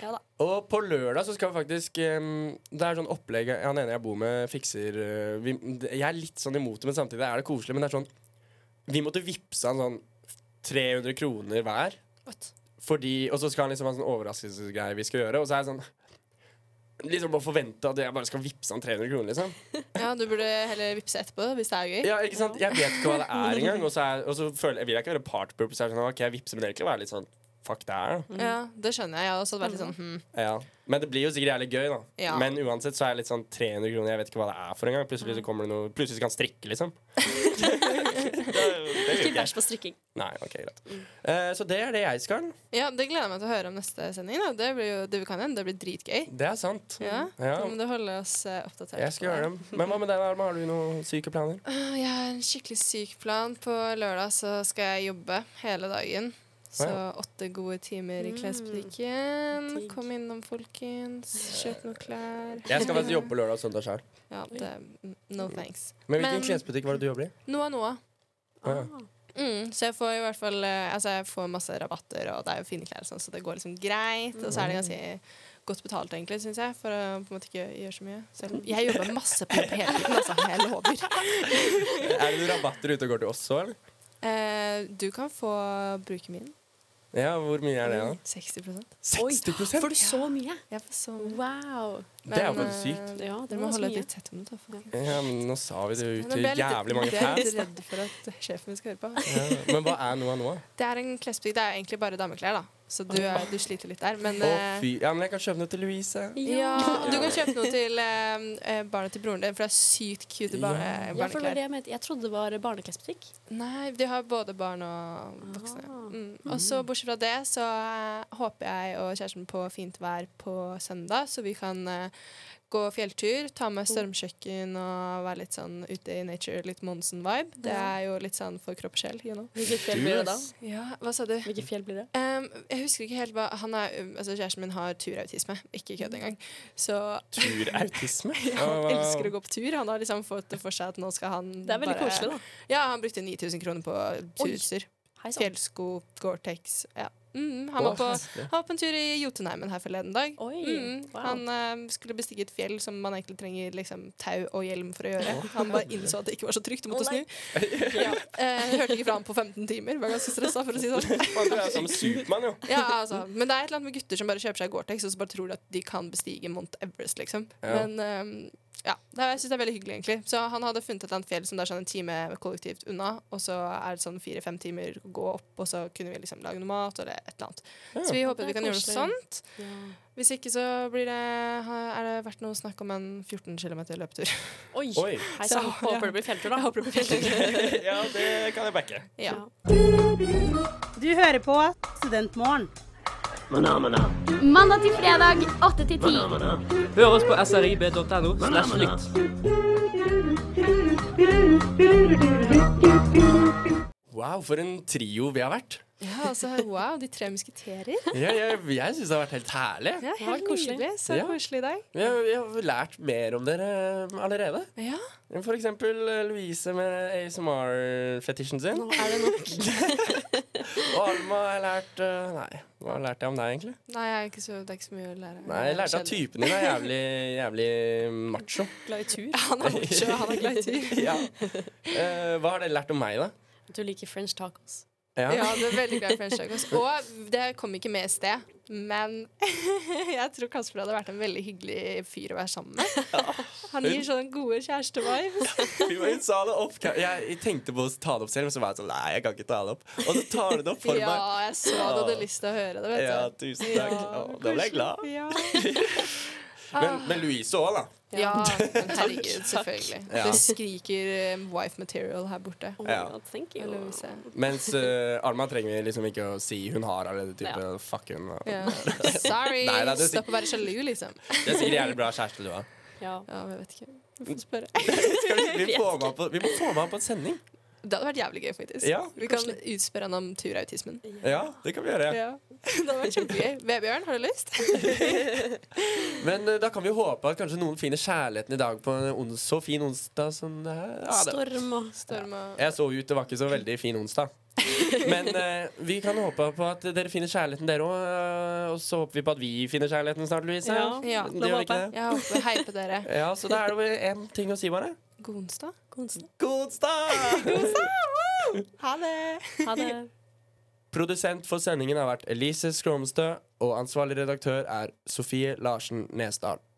Speaker 8: Ja. ja da.
Speaker 6: Og på lørdag så skal vi faktisk em, Det er sånn opplegg han ene jeg bor med, fikser eh, vi, det- Jeg er litt sånn imot det, men samtidig er det koselig. Men det er sånn Vi måtte vippse han sånn 300 kroner hver. Fordi, og så skal han liksom ha en sånn overraskelsesgreie vi skal gjøre. Og så er jeg sånn Liksom bare forvente at jeg bare skal vippse han 300 kroner, liksom.
Speaker 7: Ja, du burde heller vippse etterpå hvis det er gøy.
Speaker 6: Ja, ikke sant? Jeg vet ikke hva det er engang. Og så, er, og så føler, jeg vil jeg ikke være part purpose. Jeg er sånn, ok, jeg vipser, men egentlig være litt sånn Fuck det her, da.
Speaker 7: Ja, det skjønner jeg. Jeg hadde også vært litt sånn hm.
Speaker 6: Ja. Men det blir jo sikkert jævlig gøy, da.
Speaker 7: Ja.
Speaker 6: Men uansett så er jeg litt sånn 300 kroner, jeg vet ikke hva det er for engang. Plutselig så kommer det noe Plutselig kan han strikke, liksom. det
Speaker 8: Ikke bæsj på strikking.
Speaker 6: Nei, ok, greit. Eh, så det er det jeg skal.
Speaker 7: Ja, Det gleder jeg meg til å høre om neste sending. Da. Det blir jo, det kan hende det blir dritgøy.
Speaker 6: Det er sant.
Speaker 7: Ja,
Speaker 6: Ja.
Speaker 7: Da må du holde oss eh, oppdatert.
Speaker 6: Jeg skal gjøre det. Men hva med deg, Arma? Har du noen syke planer?
Speaker 7: Åh, Jeg har en skikkelig syk plan. På lørdag så skal jeg jobbe hele dagen. Så
Speaker 6: Ja.
Speaker 7: åtte gode timer i klesbutikken. Kom innom, folkens. Kjøp noen klær.
Speaker 6: Jeg skal faktisk jobbe på lørdag og søndag sjøl.
Speaker 7: Ja, det, mm, no thanks.
Speaker 6: Men hvilken klesbutikk var det du jobber i?
Speaker 7: Noah Noah.
Speaker 6: Ah.
Speaker 7: Mm, så jeg får i hvert fall eh, Altså jeg får masse rabatter, og det er jo fine klær, og sånn, så det går liksom greit. Og så er det ganske godt betalt, egentlig, syns jeg, for å på en måte ikke gjøre så mye. Selv om jeg jobber masse på jobb hele tiden, altså. Jeg lover.
Speaker 6: Er det rabatter ute og går til oss òg, eller?
Speaker 7: Eh, du kan få bruke min.
Speaker 6: Ja, hvor mye er det, da?
Speaker 7: 60
Speaker 8: Oi, får du så mye?
Speaker 7: Jeg får så mye.
Speaker 8: Wow.
Speaker 6: Det er jo faktisk
Speaker 7: eh,
Speaker 6: sykt.
Speaker 8: Ja, det
Speaker 7: dere
Speaker 8: var
Speaker 7: må
Speaker 8: ganske
Speaker 7: holde
Speaker 8: mye.
Speaker 7: litt tett om det. da, folkens.
Speaker 6: Ja, eh, men nå sa vi det jo
Speaker 7: Nå
Speaker 6: til
Speaker 7: ble jeg litt-
Speaker 6: jævlig mange
Speaker 7: ble jeg litt
Speaker 6: fans.
Speaker 7: redd for at sjefen min skal høre på.
Speaker 6: Ja, Men hva er Noah Noah?
Speaker 7: Det er en klesbutikk. Det er egentlig bare dameklær, da. Så du, er, du sliter litt der. Men
Speaker 6: Å,
Speaker 7: eh,
Speaker 6: fy. Ja, men jeg kan kjøpe noe til Louise.
Speaker 7: Ja, Du kan kjøpe noe til eh, eh, barna til broren din, for det er sykt cute eh, barne,
Speaker 8: Ja, for det var
Speaker 7: barneklær.
Speaker 8: det jeg mente. Jeg trodde det var barneklesbutikk.
Speaker 7: Nei, de har både barn og voksne. Mm. Og så Bortsett fra det så eh, håper jeg og kjæresten på fint vær på søndag, så vi kan eh, gå fjelltur, ta med stormkjøkken og være litt sånn ute i nature, litt Monsen-vibe. Det
Speaker 8: Ja.
Speaker 7: er jo litt sånn for kropp og sjel, you know.
Speaker 8: Hvilket fjell blir det da?
Speaker 7: Ja, hva sa du?
Speaker 8: Hvilket fjell blir det?
Speaker 7: Ehm, jeg husker ikke helt hva han er, altså Kjæresten min har turautisme. Ikke kødd engang. Så
Speaker 6: Turautisme?
Speaker 7: Ja, han elsker å gå på tur. Han har liksom fått det for seg at nå skal han
Speaker 8: Det er veldig
Speaker 7: bare-
Speaker 8: koselig, da.
Speaker 7: Ja, han brukte 9000 kroner på turutstyr.
Speaker 8: Hei sann.
Speaker 7: Fjellsko, Gore-Tex. Ja. Mm, han,
Speaker 8: Wow.
Speaker 7: var på, han var på en tur i Jotunheimen her forleden dag. Mm,
Speaker 8: wow.
Speaker 7: Han eh, skulle bestige et fjell som man egentlig trenger liksom, tau og hjelm for å gjøre. Han bare innså at det ikke var så trygt og måtte
Speaker 8: Å,
Speaker 7: snu.
Speaker 8: nei.
Speaker 7: Ja. Eh, hørte ikke fra ham på 15 timer. Var ganske stressa, for å si det sånn.
Speaker 6: Faen, Du er som Supermann, jo.
Speaker 7: Ja, altså. Men det er et eller annet med gutter som bare kjøper seg Gore-Tex og så bare tror de at de kan bestige Mount Everest, liksom.
Speaker 6: Ja.
Speaker 7: Men ehm, ja, det er, jeg synes det er veldig hyggelig, egentlig. Så han hadde funnet et eller annet fjell som det er sånn en time kollektivt unna, og så er det sånn fire-fem timer å gå opp, og så kunne vi liksom lage noe mat eller et eller annet.
Speaker 6: Ja.
Speaker 7: Så vi håper
Speaker 8: Det er
Speaker 7: vi kan gjøre noe
Speaker 8: koselig.
Speaker 7: sånt. Hvis ikke så blir det, er det vært noe snakk om en 14 km løpetur.
Speaker 8: Oi.
Speaker 6: Oi.
Speaker 8: Hei
Speaker 7: Så,
Speaker 8: sann.
Speaker 7: ja.
Speaker 8: Håper det blir fjelltur, da.
Speaker 7: Jeg håper det blir fjelltur.
Speaker 6: Ja, det kan jeg backe.
Speaker 7: ja.
Speaker 4: Du hører på Studentmorgen.
Speaker 11: Mandag til fredag 8 til 10.
Speaker 12: Hør oss på srib.no slash lytt.
Speaker 6: Wow, for en trio vi har vært.
Speaker 7: ja, altså, wow, de tre musketerer.
Speaker 6: Jeg, jeg, jeg syns det har vært helt herlig.
Speaker 7: Ja,
Speaker 8: var
Speaker 7: helt
Speaker 8: koselig.
Speaker 7: nydelig. Så
Speaker 6: Ja.
Speaker 7: koselig i dag.
Speaker 6: Vi har, vi har lært mer om dere eh, allerede.
Speaker 7: Ja.
Speaker 6: For eksempel eh, Louise med ASMR-fetisjen sin.
Speaker 8: Nå er det nok.
Speaker 6: Og Alma har jeg lært eh, Nei, hva lærte jeg om deg, egentlig?
Speaker 7: Nei, jeg er ikke så, det er ikke så mye å lære.
Speaker 6: Nei, Jeg lærte at typen din er jævlig, jævlig macho.
Speaker 8: Glad i tur.
Speaker 7: Han er macho, han er glad i tur.
Speaker 6: Ja. Eh, hva har dere lært om meg, da?
Speaker 8: Du liker french tacos.
Speaker 6: Ja.
Speaker 7: Ja, du er veldig glad i french tacos. Og det kom ikke med i sted, men jeg tror Kasper hadde vært en veldig hyggelig fyr å være sammen med. Han gir sånne gode kjærestevibes.
Speaker 6: Vi var- Hun sa det opp. Jeg tenkte på å ta det opp selv, men så var jeg sånn Nei, jeg kan ikke ta det opp. Og så tar du det opp for
Speaker 7: Ja,
Speaker 6: meg.
Speaker 7: jeg så du hadde lyst til å høre det, vet du.
Speaker 6: Ja, tusen takk.
Speaker 7: Ja,
Speaker 6: Å, da ble jeg glad.
Speaker 7: Ja,
Speaker 6: Men, men Louise òg, da.
Speaker 7: Ah. ja men herregud, selvfølgelig.
Speaker 6: Ja.
Speaker 7: Det skriker eh, wife material her borte.
Speaker 8: Oh my
Speaker 6: Ja.
Speaker 8: god, thank
Speaker 7: Jeg
Speaker 8: you.
Speaker 7: lover seg.
Speaker 6: Mens eh, Alma trenger liksom ikke å si hun har allerede type fuck hun. og-
Speaker 7: Ja. Sorry!
Speaker 6: Nei, nei, det er sikk-
Speaker 7: Stopp å være sjalu, liksom.
Speaker 6: Det er sikkert jævlig bra kjæreste du har.
Speaker 8: Ja.
Speaker 7: Ja, men jeg vet ikke. Vi får spørre.
Speaker 6: Skal vi, vi, får med han på, vi må få med han på en sending.
Speaker 7: Det hadde vært jævlig gøy, faktisk.
Speaker 6: Ja.
Speaker 7: Vi kan utspørre han om turautismen.
Speaker 6: Ja, det kan vi gjøre.
Speaker 7: Ja. Det hadde vært kjempegøy. Vebjørn, har du lyst?
Speaker 6: Men eh, da kan vi håpe at kanskje noen finner kjærligheten i dag på en ons- så fin onsdag som det her. Ja, det.
Speaker 8: Storm og
Speaker 7: Storm og
Speaker 6: Jeg så ut, det var ikke så veldig fin onsdag. Men eh, vi kan håpe på at dere finner kjærligheten, dere òg. og så håper vi på at vi finner kjærligheten snart, Louise.
Speaker 8: Ja,
Speaker 7: Ja,
Speaker 6: Det
Speaker 8: da
Speaker 6: gjør vi
Speaker 8: håper
Speaker 6: ikke
Speaker 8: jeg.
Speaker 6: det?
Speaker 7: Jeg håper hei på dere.
Speaker 6: Ja, så da er det vel én ting å si, bare.
Speaker 7: God onsdag.
Speaker 8: konstant.
Speaker 6: God onsdag!
Speaker 7: Ha det!
Speaker 8: Ha det.
Speaker 6: Produsent for sendingen har vært Elise Skromstø, og ansvarlig redaktør er Sofie Larsen Nesdal.